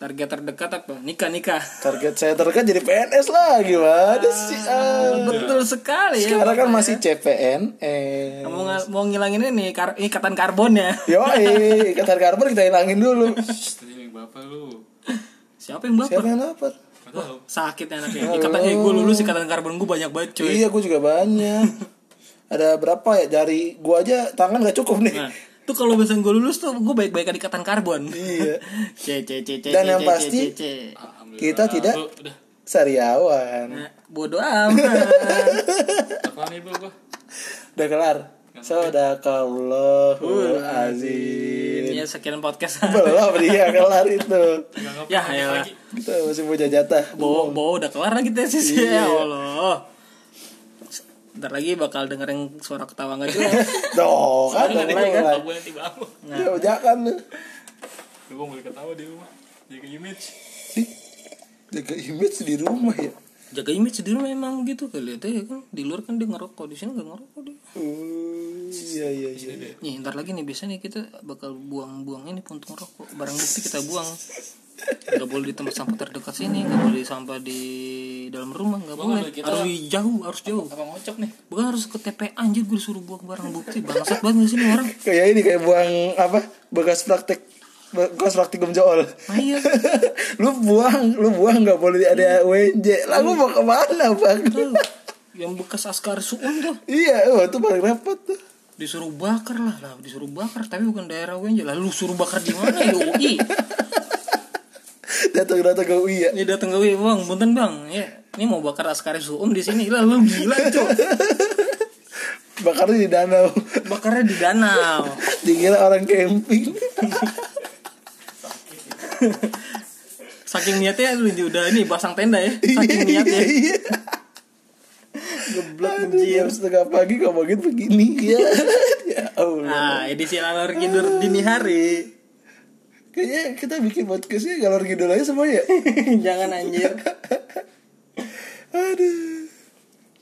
Speaker 1: target terdekat apa nikah nikah
Speaker 2: target saya terdekat jadi PNS lah gimana sih ah.
Speaker 1: betul sekali ya
Speaker 2: Sekarang kan
Speaker 1: Bapak
Speaker 2: masih
Speaker 1: ya.
Speaker 2: CPN eh
Speaker 1: mau nga- mau ngilangin ini kar ikatan karbon ya
Speaker 2: Yo, ikatan karbon kita hilangin dulu.
Speaker 3: Shh, tadi yang bapak lu
Speaker 1: siapa yang baper
Speaker 2: Siapa yang lapar?
Speaker 3: nggak tahu
Speaker 1: sakit anaknya ikatan eh gue lulus ikatan karbon gue banyak banget cuy
Speaker 2: Iya, gue juga banyak. Ada berapa ya jari? Gue aja tangan gak cukup nih.
Speaker 1: nah tuh kalau misalnya gue lulus tuh gue baik baikan ikatan karbon
Speaker 2: Iya.
Speaker 1: c c c c
Speaker 2: Dan
Speaker 1: c,
Speaker 2: yang
Speaker 1: c,
Speaker 2: pasti-
Speaker 1: c, c.
Speaker 3: alhamdulillah
Speaker 2: Kita tidak
Speaker 3: Lu, udah
Speaker 2: sariawan.
Speaker 1: Nah, bodoh amat
Speaker 3: taklan ibu gua
Speaker 2: Udah kelar. Sodakallahul azim.
Speaker 1: ya sekian podcast
Speaker 2: Belum dia kelar itu.
Speaker 3: nggak ngapain
Speaker 1: ya ya
Speaker 3: lagi
Speaker 2: Kita masih punya jatah.
Speaker 1: Bawa, bawa udah kelar lagi tesis ya Allah. Ntar lagi bakal dengerin suara ketawa nggak juga.
Speaker 2: Doh, kan udah
Speaker 3: nanti gua
Speaker 2: kelar.
Speaker 3: nggak boleh tiba aku
Speaker 2: Ya, jangan lu.
Speaker 3: Lu gua boleh ketawa di rumah jaga image
Speaker 2: Ih, Jaga image di rumah ya.
Speaker 1: Jaga image di rumah emang gitu kali ya kan. Di luar kan dia ngerokok, di sini nggak ngerokok dia.
Speaker 2: Uh, iya iya iya.
Speaker 1: Nih, ntar lagi nih biasanya nih kita bakal buang-buang ini puntung rokok. Barang bukti kita buang. Gak boleh di tempat sampah terdekat sini, gak boleh sampah di dalam rumah, gak boleh.
Speaker 3: boleh, kita-
Speaker 1: Harus di- jauh, harus jauh.
Speaker 3: apa ngocok nih
Speaker 1: Bukan harus ke TPA anjir gue disuruh buang barang bukti. Bangsat banget nggak sih nih orang.
Speaker 2: kayak ini kayak buang apa bekas praktek bekas praktikum jool
Speaker 1: Nah, iya.
Speaker 2: lu buang lu buang nggak boleh ada WNJ lah gua mau kemana bang
Speaker 1: Tuh, yang bekas askar suun tuh.
Speaker 2: iya wah itu paling repot tuh
Speaker 1: disuruh bakar lah lah disuruh bakar tapi bukan daerah gue aja lalu suruh bakar di mana ya UI
Speaker 2: datang datang ke UI ya
Speaker 1: ini datang ke UI bang punten bang ya ini mau bakar askari suum di sini lah lu gila itu
Speaker 2: bakarnya di danau
Speaker 1: bakarnya di danau
Speaker 2: dikira orang camping
Speaker 1: saking niatnya lu udah ini pasang tenda ya saking niatnya
Speaker 2: iya
Speaker 1: geblok
Speaker 2: Aduh, jam setengah pagi kok banget begini ya ya Allah
Speaker 1: nah edisi lalur kidur dini hari
Speaker 2: kayaknya kita bikin podcastnya galor ngidol aja semuanya
Speaker 1: jangan anjir
Speaker 2: Aduh.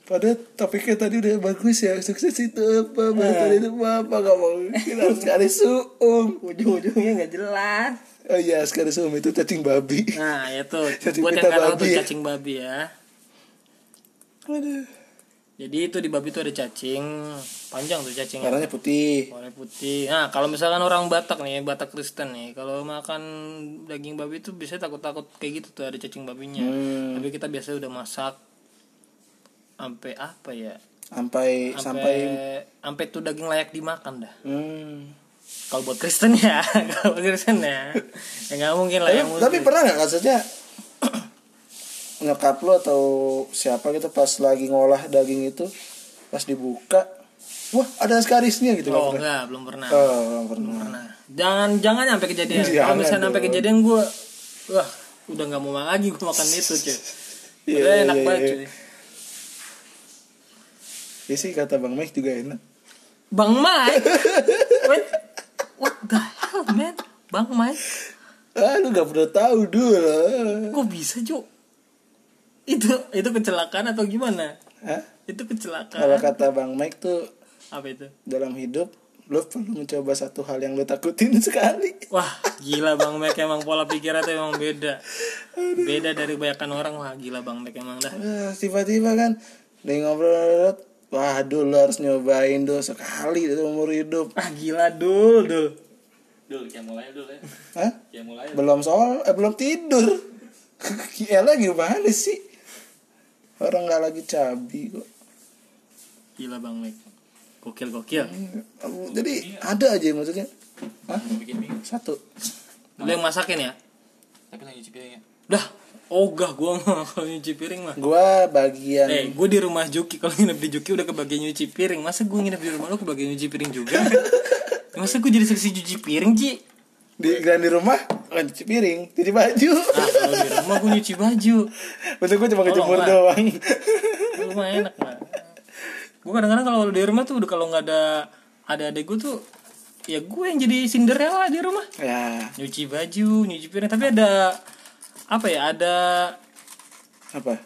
Speaker 2: Pada topiknya tadi udah bagus ya Sukses itu apa Bahagia itu apa Gak mungkin harus sekali suum
Speaker 1: ujung-ujungnya nggak jelas
Speaker 2: Oh iya sekali suum itu cacing babi
Speaker 1: nah itu
Speaker 2: Cacing
Speaker 1: buat yang
Speaker 2: pita
Speaker 1: nggak tahu tuh
Speaker 2: babi ya.
Speaker 1: cacing babi ya
Speaker 2: Aduh
Speaker 1: jadi itu di babi tuh ada cacing panjang tuh cacingnya
Speaker 2: Warnanya putih
Speaker 1: Warna putih. Nah, kalau misalkan orang Batak nih, Batak Kristen nih, kalau makan daging babi itu biasanya takut-takut kayak gitu tuh ada cacing babinya.
Speaker 2: Hmm.
Speaker 1: Tapi kita biasanya udah masak sampai apa ya? Sampai
Speaker 2: Sampai Sampai
Speaker 1: sampai tuh daging layak dimakan dah.
Speaker 2: Hmm.
Speaker 1: Kalau buat Kristen ya, kalau buat Kristen ya. ya nggak mungkin lah
Speaker 2: Tapi,
Speaker 1: yang
Speaker 2: tapi pernah gak maksudnya Nyokap lo atau siapa gitu Pas lagi ngolah daging itu Pas dibuka Wah ada skarisnya gitu
Speaker 1: Oh,
Speaker 2: nggak pernah?
Speaker 1: enggak, belum pernah.
Speaker 2: Oh, nggak pernah
Speaker 1: Pernah. Jangan jangan sampai kejadian.
Speaker 2: Jangan
Speaker 1: Kalau misalnya sampai
Speaker 2: dong.
Speaker 1: kejadian gue wah udah nggak mau makan lagi gue makan itu cuy
Speaker 2: Iya,
Speaker 1: udah
Speaker 2: iya,
Speaker 1: enak
Speaker 2: iya,
Speaker 1: banget
Speaker 2: iya.
Speaker 1: cuy
Speaker 2: Iya sih kata Bang Mike juga enak.
Speaker 1: bang Mike what, what the hell man bang Mike
Speaker 2: Ah, lu gak pernah tahu dulu.
Speaker 1: kok bisa cuy itu itu kecelakaan atau gimana
Speaker 2: Hah?
Speaker 1: itu
Speaker 2: Kalau
Speaker 1: kecelakaan
Speaker 2: kata Bang Mike tuh
Speaker 1: apa itu
Speaker 2: dalam hidup lu perlu mencoba satu hal yang lu takutin sekali.
Speaker 1: Wah gila Bang Mek emang pola pikirnya tuh emang beda Beda dari kebanyakan orang Wah gila Bang Mek emang dah
Speaker 2: Ah, tiba-tiba kan nih ngobrol waduh lu harus nyobain dulu sekali seumur hidup
Speaker 1: Ah gila dul dul
Speaker 3: Dul, yang mulai dul ya.
Speaker 2: Hah?
Speaker 3: Yang mulai.
Speaker 2: belum soal eh, belum tidur gila gimana sih orang nggak lagi cabi kok
Speaker 1: Gila Bang Mek Gokil gokil
Speaker 2: jadi ada aja yang maksudnya Hah?
Speaker 3: Bikin bingung.
Speaker 2: satu
Speaker 1: Lu yang masakin ya
Speaker 3: Tapi lagi cuci piring ya.
Speaker 1: Dah Ogah gue mah kalau nyuci piring mah
Speaker 2: gua bagian
Speaker 1: Eh gue di rumah Juki Kalau nginep di Juki udah kebagian nyuci piring Masa gue nginep di rumah lu kebagian nyuci piring juga Masa gue jadi seksi cuci piring Ji
Speaker 2: di dan di rumah kan cuci piring cuci baju
Speaker 1: Ah Oh, kalau di rumah gue nyuci baju
Speaker 2: bentuk gua cuma
Speaker 1: Tolong,
Speaker 2: kejemur
Speaker 1: Mak.
Speaker 2: doang
Speaker 1: Lu mah enak lah gue kadang-kadang kalau di rumah tuh udah kalau nggak ada ada adek gue tuh ya gue yang jadi Cinderella di rumah
Speaker 2: ya
Speaker 1: nyuci baju nyuci piring tapi ada apa ya ada
Speaker 2: apa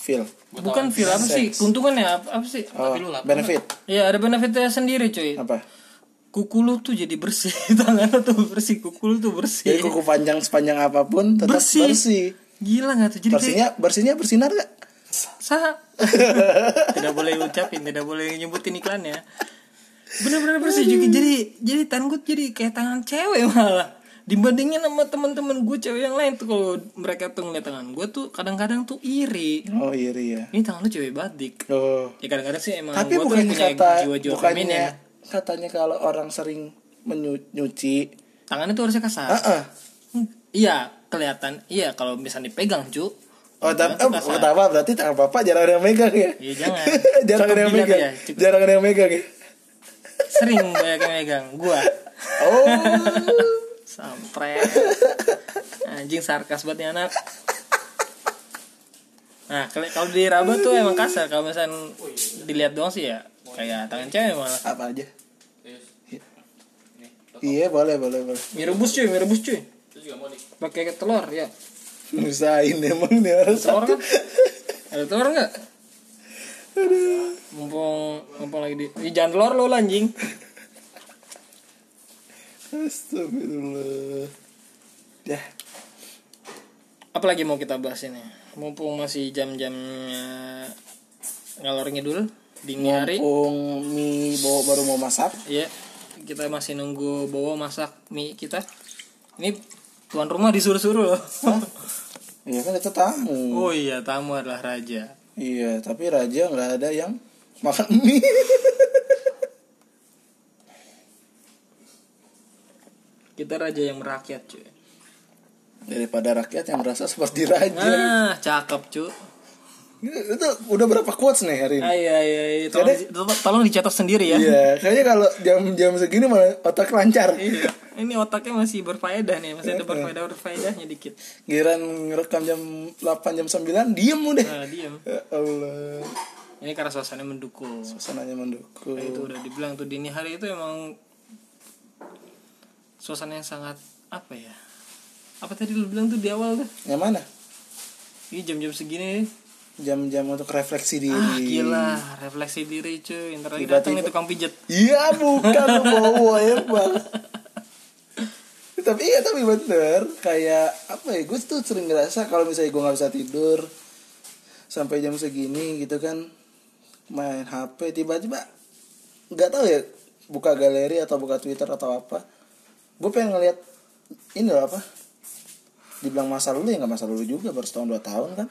Speaker 2: feel
Speaker 1: bukan feel apa sih keuntungan ya apa, apa sih
Speaker 2: oh,
Speaker 3: lu lapar
Speaker 2: benefit
Speaker 1: ya ada benefitnya sendiri cuy
Speaker 2: apa
Speaker 1: kuku lu tuh jadi bersih tangan lu tuh bersih kuku lu tuh bersih
Speaker 2: jadi kuku panjang sepanjang apapun
Speaker 1: Iya.
Speaker 2: tetap
Speaker 1: Bersih.
Speaker 2: bersih,
Speaker 1: gila nggak tuh jadi kayak
Speaker 2: bersihnya bersihnya bersinar gak
Speaker 1: sah tidak boleh ucapin tidak boleh nyebutin iklannya bener-bener bersih juga jadi jadi tangan gue jadi kayak tangan cewek malah dibandingin sama teman-teman gue cewek yang lain tuh kalau mereka tuh ngeliat tangan gue tuh kadang-kadang tuh iri
Speaker 2: oh iri ya
Speaker 1: ini tangan lu cewek badik
Speaker 2: oh
Speaker 1: ya kadang-kadang sih emang gua
Speaker 2: tapi
Speaker 1: tuh
Speaker 2: bukannya
Speaker 1: punya
Speaker 2: kata
Speaker 1: jiwa-jiwa feminin
Speaker 2: bukannya katanya kalau orang sering menyuci
Speaker 1: tangannya tuh harusnya kasar
Speaker 2: ah ah.
Speaker 1: iya kelihatan iya kalau misalnya dipegang cu
Speaker 2: oh tapi
Speaker 1: Tangannya
Speaker 2: oh, pertama berarti tangan bapak jarang ada yang megang ya
Speaker 1: Iya, jangan.
Speaker 2: jarang
Speaker 1: Cukup
Speaker 2: ada yang
Speaker 1: jilat
Speaker 2: megang
Speaker 1: ya, cukup.
Speaker 2: jarang ada yang megang ya
Speaker 1: sering banyak yang megang gua
Speaker 2: oh
Speaker 1: Sampret Anjing sarkas banget nih anak Nah kali- kalau di raba tuh emang kasar Kalau misalnya dilihat doang sih ya Kayak tangan cewek malah
Speaker 2: apa aja iya boleh boleh boleh
Speaker 1: Mie rebus cuy, mie rebus cuy
Speaker 3: Terus juga mau nih.
Speaker 1: Pakai telur ya
Speaker 2: nusain emang nih orang
Speaker 1: Telur
Speaker 2: satu
Speaker 1: kan? Ada telur nggak? Mumpung, mumpung lagi di Ih, Jangan telur lo anjing
Speaker 2: astagfirullah dah
Speaker 1: Apalagi mau kita bahas ini Mumpung masih jam-jamnya Ngalor ngidul Dingin hari
Speaker 2: Mumpung mie bawa baru mau masak
Speaker 1: Iya, kita masih nunggu Bowo masak mie kita. Ini tuan rumah disuruh-suruh loh.
Speaker 2: Iya kan itu tamu
Speaker 1: oh iya, tamu adalah raja.
Speaker 2: Iya tapi Raja nggak ada yang makan mie
Speaker 1: Kita raja yang merakyat, cuy.
Speaker 2: Daripada rakyat yang merasa seperti Raja
Speaker 1: Nah, cakep, cuy.
Speaker 2: Itu udah berapa quotes nih hari ini?
Speaker 1: Ay, ay, ay. Tolong, di- to- tolong dicatat sendiri ya.
Speaker 2: Iya kayaknya kalau jam-jam segini malah otak lancar
Speaker 1: Iya. Ini otaknya masih berfaedah nih, masih ada berfaedah berfaedahnya dikit.
Speaker 2: Giran ngerekam jam 8 jam 9 diem udah
Speaker 1: Nah, diam.
Speaker 2: Ya Allah
Speaker 1: Ini karena suasana mendukung.
Speaker 2: Suasananya mendukung
Speaker 1: Nah, itu udah dibilang tuh dini hari itu emang suasana yang sangat apa ya? Apa tadi lu bilang tuh di awal tuh?
Speaker 2: Yang mana?
Speaker 1: Ini jam-jam segini
Speaker 2: Jam-jam untuk refleksi diri
Speaker 1: Ah gila Refleksi diri cuy Ntar lagi
Speaker 2: Iya. Tiba-tiba.
Speaker 1: datang nih tukang pijet
Speaker 2: Iya bukan lu bawa emang tapi iya tapi bener kayak apa ya gue tuh sering ngerasa kalau misalnya gue nggak bisa tidur sampai jam segini gitu kan main HP tiba-tiba nggak tahu ya buka galeri atau buka Twitter atau apa gue pengen ngeliat ini loh apa dibilang masa lalu ya nggak masa lalu juga baru setahun dua tahun kan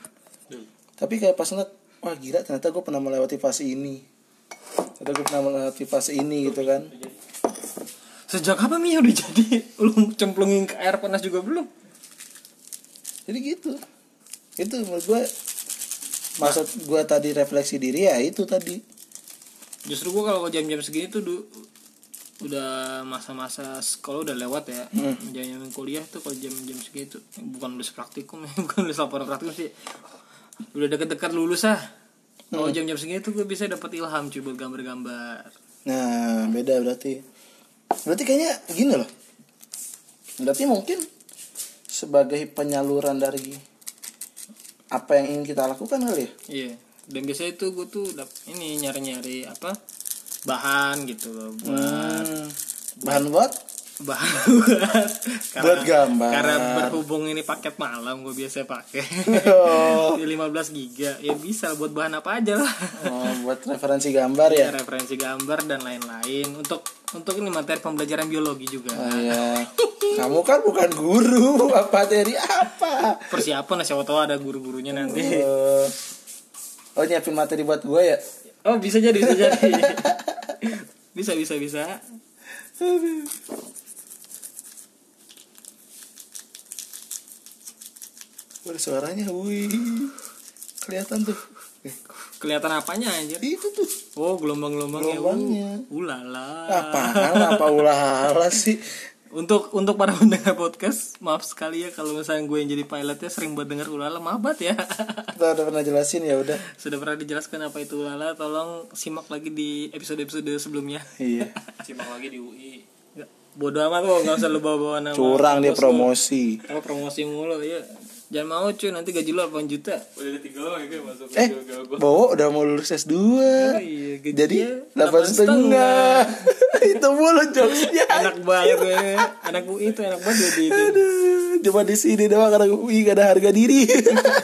Speaker 3: Dul.
Speaker 2: tapi kayak pas ngeliat wah gila ternyata gue pernah melewati fase ini ternyata gue pernah melewati fase ini gitu kan
Speaker 1: Sejak kapan Mio udah jadi Lu cemplungin ke air panas juga belum
Speaker 2: jadi gitu itu menurut gue maksud gue tadi refleksi diri ya itu tadi
Speaker 1: Justru gua kalau jam-jam segini tuh du- udah masa-masa sekolah udah lewat ya
Speaker 2: Hmm.
Speaker 1: jam jam kuliah tuh kalau jam-jam segitu bukan lulus praktikum ya bukan lulus laporan praktikum sih udah deket-deket lulus ah
Speaker 2: Hmm.
Speaker 1: kalau jam-jam segitu gue bisa dapat ilham cuy buat gambar-gambar
Speaker 2: Nah, beda berarti. Berarti kayaknya gini loh. Berarti mungkin sebagai penyaluran dari apa yang ingin kita lakukan kali ya.
Speaker 1: iya dan biasanya itu gue tuh dap- ini nyari-nyari apa bahan gitu loh
Speaker 2: Hmm.
Speaker 1: buat
Speaker 2: Bahan buat
Speaker 1: bahan buat
Speaker 2: Buat gambar.
Speaker 1: karena berhubung ini paket malam gue biasa pakai
Speaker 2: oh,
Speaker 1: Di 15 giga ya bisa buat bahan apa aja lah
Speaker 2: buat referensi gambar ya.
Speaker 1: referensi gambar dan lain-lain untuk untuk ini materi pembelajaran biologi juga
Speaker 2: Oh, iya. Kamu kan bukan guru, apa dari apa?
Speaker 1: persiapan lah siapa tahu ada guru-gurunya nanti
Speaker 2: Eh, oh nyiapin materi buat gue ya.
Speaker 1: oh bisa jadi bisa jadi bisa bisa bisa
Speaker 2: Bersuaranya, wih, kelihatan tuh. Eh,
Speaker 1: kelihatan apanya anjir
Speaker 2: Itu tuh.
Speaker 1: oh gelombang-gelombangnya
Speaker 2: Gelombangnya.
Speaker 1: Uh, ulala
Speaker 2: Apaan apa ulah sih
Speaker 1: untuk untuk para pendengar podcast maaf sekali ya kalau misalnya gue yang jadi pilotnya sering buat denger ulala mabat ya
Speaker 2: Kita udah pernah jelasin ya udah
Speaker 1: sudah pernah dijelaskan apa itu ulala tolong simak lagi di episode-episode sebelumnya
Speaker 2: Iya
Speaker 3: Simak lagi di UI.
Speaker 1: Nggak, bodo amat kok nggak usah lu bawa-bawa nama
Speaker 2: Curang dia
Speaker 1: bos lu.
Speaker 2: promosi
Speaker 1: Kalau promosi mulu ya. Jangan mau cuy nanti gaji lu 8 juta.
Speaker 3: Udah ada tiga orang ya gue masuk
Speaker 2: Eh
Speaker 3: ke gua.
Speaker 2: Bowo udah mau lulus S2
Speaker 1: iya, gajinya
Speaker 2: Jadi
Speaker 1: 8
Speaker 2: delapan setengah Itu mulu jokesnya
Speaker 1: Enak banget ya. Anak UI itu enak banget jadi itu.
Speaker 2: Aduh, Cuma di sini doang karena UI gak ada harga diri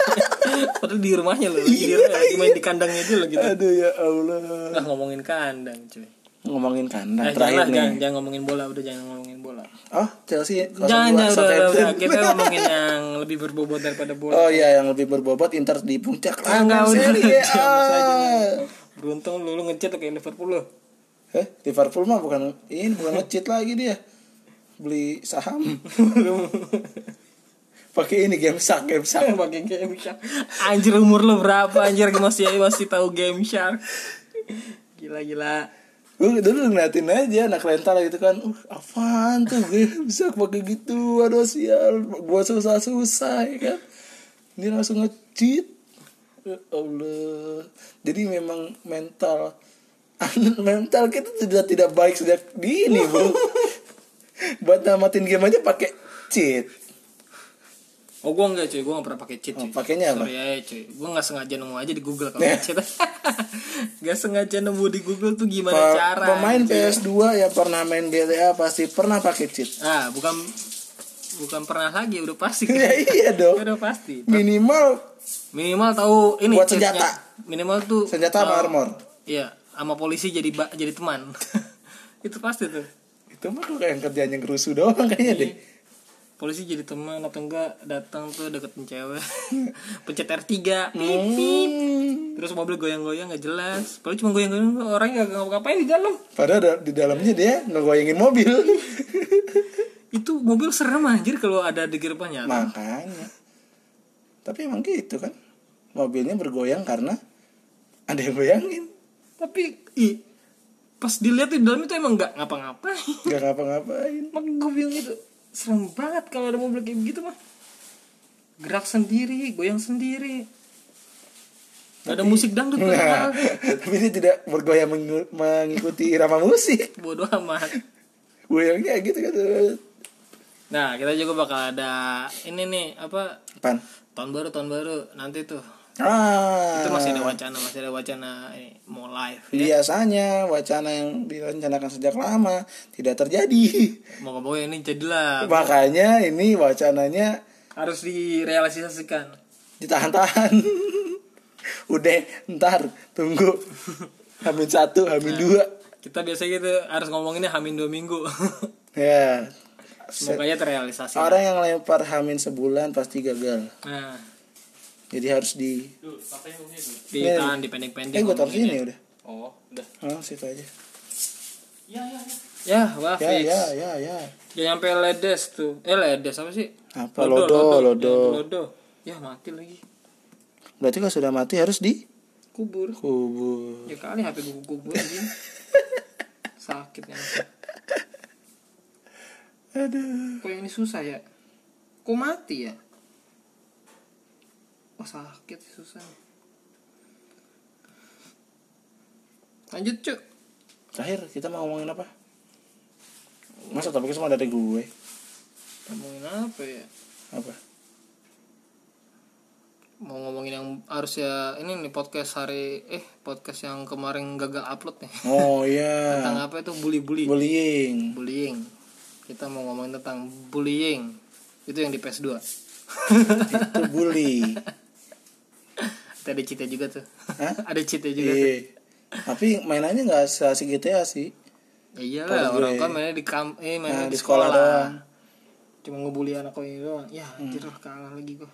Speaker 1: Padahal di rumahnya lo, di rumahnya lagi main di kandangnya aja lo gitu.
Speaker 2: Iya. Aduh ya Allah
Speaker 1: Nah, ngomongin kandang cuy.
Speaker 2: Ngomongin
Speaker 1: Nah,
Speaker 2: kandang
Speaker 1: jangan,
Speaker 2: terakhir
Speaker 1: jangan,
Speaker 2: nih
Speaker 1: jangan ngomongin bola udah jangan ngomongin bola.
Speaker 2: Oh Chelsea
Speaker 1: Jangan,
Speaker 2: 0-2
Speaker 1: jangan udah, udah, udah.
Speaker 2: Southampton.
Speaker 1: kita ngomongin yang lebih berbobot daripada bola.
Speaker 2: Oh iya yang lebih berbobot Inter di puncak
Speaker 1: Ah, enggak,
Speaker 2: Lawan
Speaker 1: udah,
Speaker 2: Serie
Speaker 1: udah, udah,
Speaker 2: A.
Speaker 1: Beruntung lu, lu ngecet tuh kayak Liverpool lo.
Speaker 2: Eh, Liverpool mah bukan ini bukan nge-cheat lagi dia. Beli saham. Pakai ini game sak, game sak.
Speaker 1: pakai game shark anjir umur lu berapa anjir masih masih tahu game shark gila gila
Speaker 2: Gue dulu ngeliatin aja anak rental gitu kan. Uh, apaan tuh game sak pakai gitu. Aduh sial, gua susah-susah ya kan. Ini langsung nge-cheat. Ya Allah. Jadi memang mental mental kita sudah tidak baik sejak dini, Bro. Buat namatin game aja pakai cheat.
Speaker 1: oh gua enggak cuy gua nggak pernah pakai cheat
Speaker 2: Oh,
Speaker 1: cuy
Speaker 2: pakainya apa? Iya.
Speaker 1: sorry ya cuy gua nggak sengaja nemu aja di google kalau cheat nggak sengaja nemu di google tuh gimana
Speaker 2: Pa-
Speaker 1: cara
Speaker 2: pemain
Speaker 1: anjir.
Speaker 2: PS2 yang pernah main GTA pasti pernah pakai cheat.
Speaker 1: ah bukan bukan pernah lagi udah pasti
Speaker 2: ya iya dong.
Speaker 1: udah pasti
Speaker 2: Minimal
Speaker 1: minimal tahu ini
Speaker 2: Buat
Speaker 1: cheatnya.
Speaker 2: senjata.
Speaker 1: minimal tuh
Speaker 2: senjata sama
Speaker 1: tahu-
Speaker 2: armor.
Speaker 1: iya sama polisi jadi ba- jadi teman itu pasti tuh
Speaker 2: Itu mah tuh kayak yang kerjanya ngerusuh doang kayaknya deh.
Speaker 1: polisi jadi teman atau enggak datang tuh deketin cewek pencet R3 pip, pip.
Speaker 2: Hmm.
Speaker 1: terus mobil goyang-goyang nggak jelas paling cuma goyang-goyang orangnya nggak ngapa-ngapain di dalam
Speaker 2: Padahal da- di dalamnya dia ngegoyangin mobil.
Speaker 1: itu mobil serem anjir kalau ada di depannya
Speaker 2: Nah. Makanya. Tapi emang gitu kan. Mobilnya bergoyang karena ada yang goyangin.
Speaker 1: tapi i pas dilihat di dalam itu emang nggak ngapa-ngapain
Speaker 2: Gak ngapa-ngapain.
Speaker 1: makanya gue bilang gitu serem banget kalau ada mobil kayak begitu mah gerak sendiri goyang sendiri Gak ada musik dangdut
Speaker 2: Nah,
Speaker 1: padahal.
Speaker 2: tapi dia tidak bergoyang mengu- mengikuti irama musik.
Speaker 1: bodoh amat
Speaker 2: Goyangnya gitu kan.
Speaker 1: Nah, kita juga bakal ada ini nih apa
Speaker 2: Pan.
Speaker 1: tahun baru tahun baru nanti tuh.
Speaker 2: Ah. Iya.
Speaker 1: Itu masih ada wacana, masih ada wacana ini, mau live. ya.
Speaker 2: Biasanya wacana yang direncanakan sejak lama tidak terjadi.
Speaker 1: Mau nggak mau ini jadilah
Speaker 2: Makanya ini wacananya
Speaker 1: harus direalisasikan.
Speaker 2: ditahan-tahan. Udah, ntar tunggu. Hamin satu, hamin dua.
Speaker 1: Kita biasanya gitu harus ngomonginnya hamin dua minggu.
Speaker 2: Ya.
Speaker 1: Semoga aja terrealisasi.
Speaker 2: Orang yang lempar hamin sebulan pasti gagal.
Speaker 1: Nah,
Speaker 2: Jadi harus di
Speaker 3: Duh, apa yang punya dulu?
Speaker 1: ditahan,
Speaker 2: Eh
Speaker 1: dipending-pending.
Speaker 2: gue taruh
Speaker 1: ngomonginnya.
Speaker 2: sini udah.
Speaker 3: Oh, udah.
Speaker 2: Oh, situ aja.
Speaker 3: Iya, iya, iya.
Speaker 1: Ya, wah
Speaker 2: Ya,
Speaker 1: fix.
Speaker 2: ya, ya, ya.
Speaker 1: Ya nyampe ledes tuh. Eh ledes apa sih?
Speaker 2: Apa
Speaker 1: lodo.
Speaker 2: lodo, lodo.
Speaker 1: Ya, lodo. Ya mati lagi.
Speaker 2: Berarti kalau sudah mati harus di
Speaker 1: Kubur.
Speaker 2: kubur.
Speaker 1: Ya kali HP gue kubur anjing. Sakitnya.
Speaker 2: Aduh.
Speaker 1: Kok yang ini susah ya? Kok mati ya? Wah sakit sih susah. nih. Lanjut cuk.
Speaker 2: Terakhir kita mau ngomongin apa? Masa topiknya semua dari gue?
Speaker 1: Ngomongin apa ya?
Speaker 2: Apa?
Speaker 1: Mau ngomongin yang harusnya ini nih podcast hari eh podcast yang kemarin gagal upload nih.
Speaker 2: Oh iya.
Speaker 1: Tentang apa itu bully-bully?
Speaker 2: Bullying.
Speaker 1: Bullying. Kita mau ngomongin tentang bullying. Itu yang di PS2.
Speaker 2: Itu bully.
Speaker 1: Itu ada cheatnya juga tuh.
Speaker 2: Hah?
Speaker 1: ada cheatnya juga. tuh.
Speaker 2: Iya. Tapi mainannya nggak seasik GTA sih.
Speaker 1: Ya iyalah
Speaker 2: Kalau
Speaker 1: orang
Speaker 2: gue-
Speaker 1: kan mainnya di kam eh mainnya
Speaker 2: Nah,
Speaker 1: di,
Speaker 2: di sekolah
Speaker 1: sekolah.
Speaker 2: doang.
Speaker 1: Cuma ngebully anak ini doang. Ya, anjir kalah lagi gua.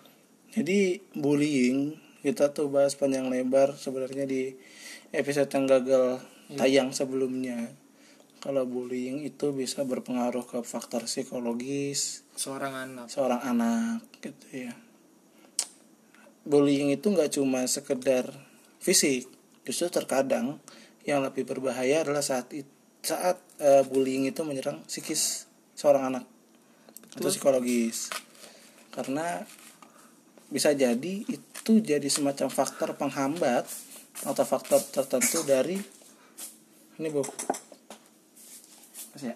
Speaker 2: Jadi bullying kita tuh bahas panjang lebar sebenarnya di episode yang gagal
Speaker 1: Iya.
Speaker 2: tayang sebelumnya. Kalau bullying itu bisa berpengaruh ke faktor psikologis
Speaker 1: Seorang anak.
Speaker 2: seorang anak gitu ya. Bullying itu nggak cuma sekedar fisik, justru terkadang yang lebih berbahaya adalah saat it- saat eh, bullying itu menyerang psikis seorang anak atau psikologis. Karena bisa jadi itu jadi semacam faktor penghambat atau faktor tertentu dari ini bu Kasih ya.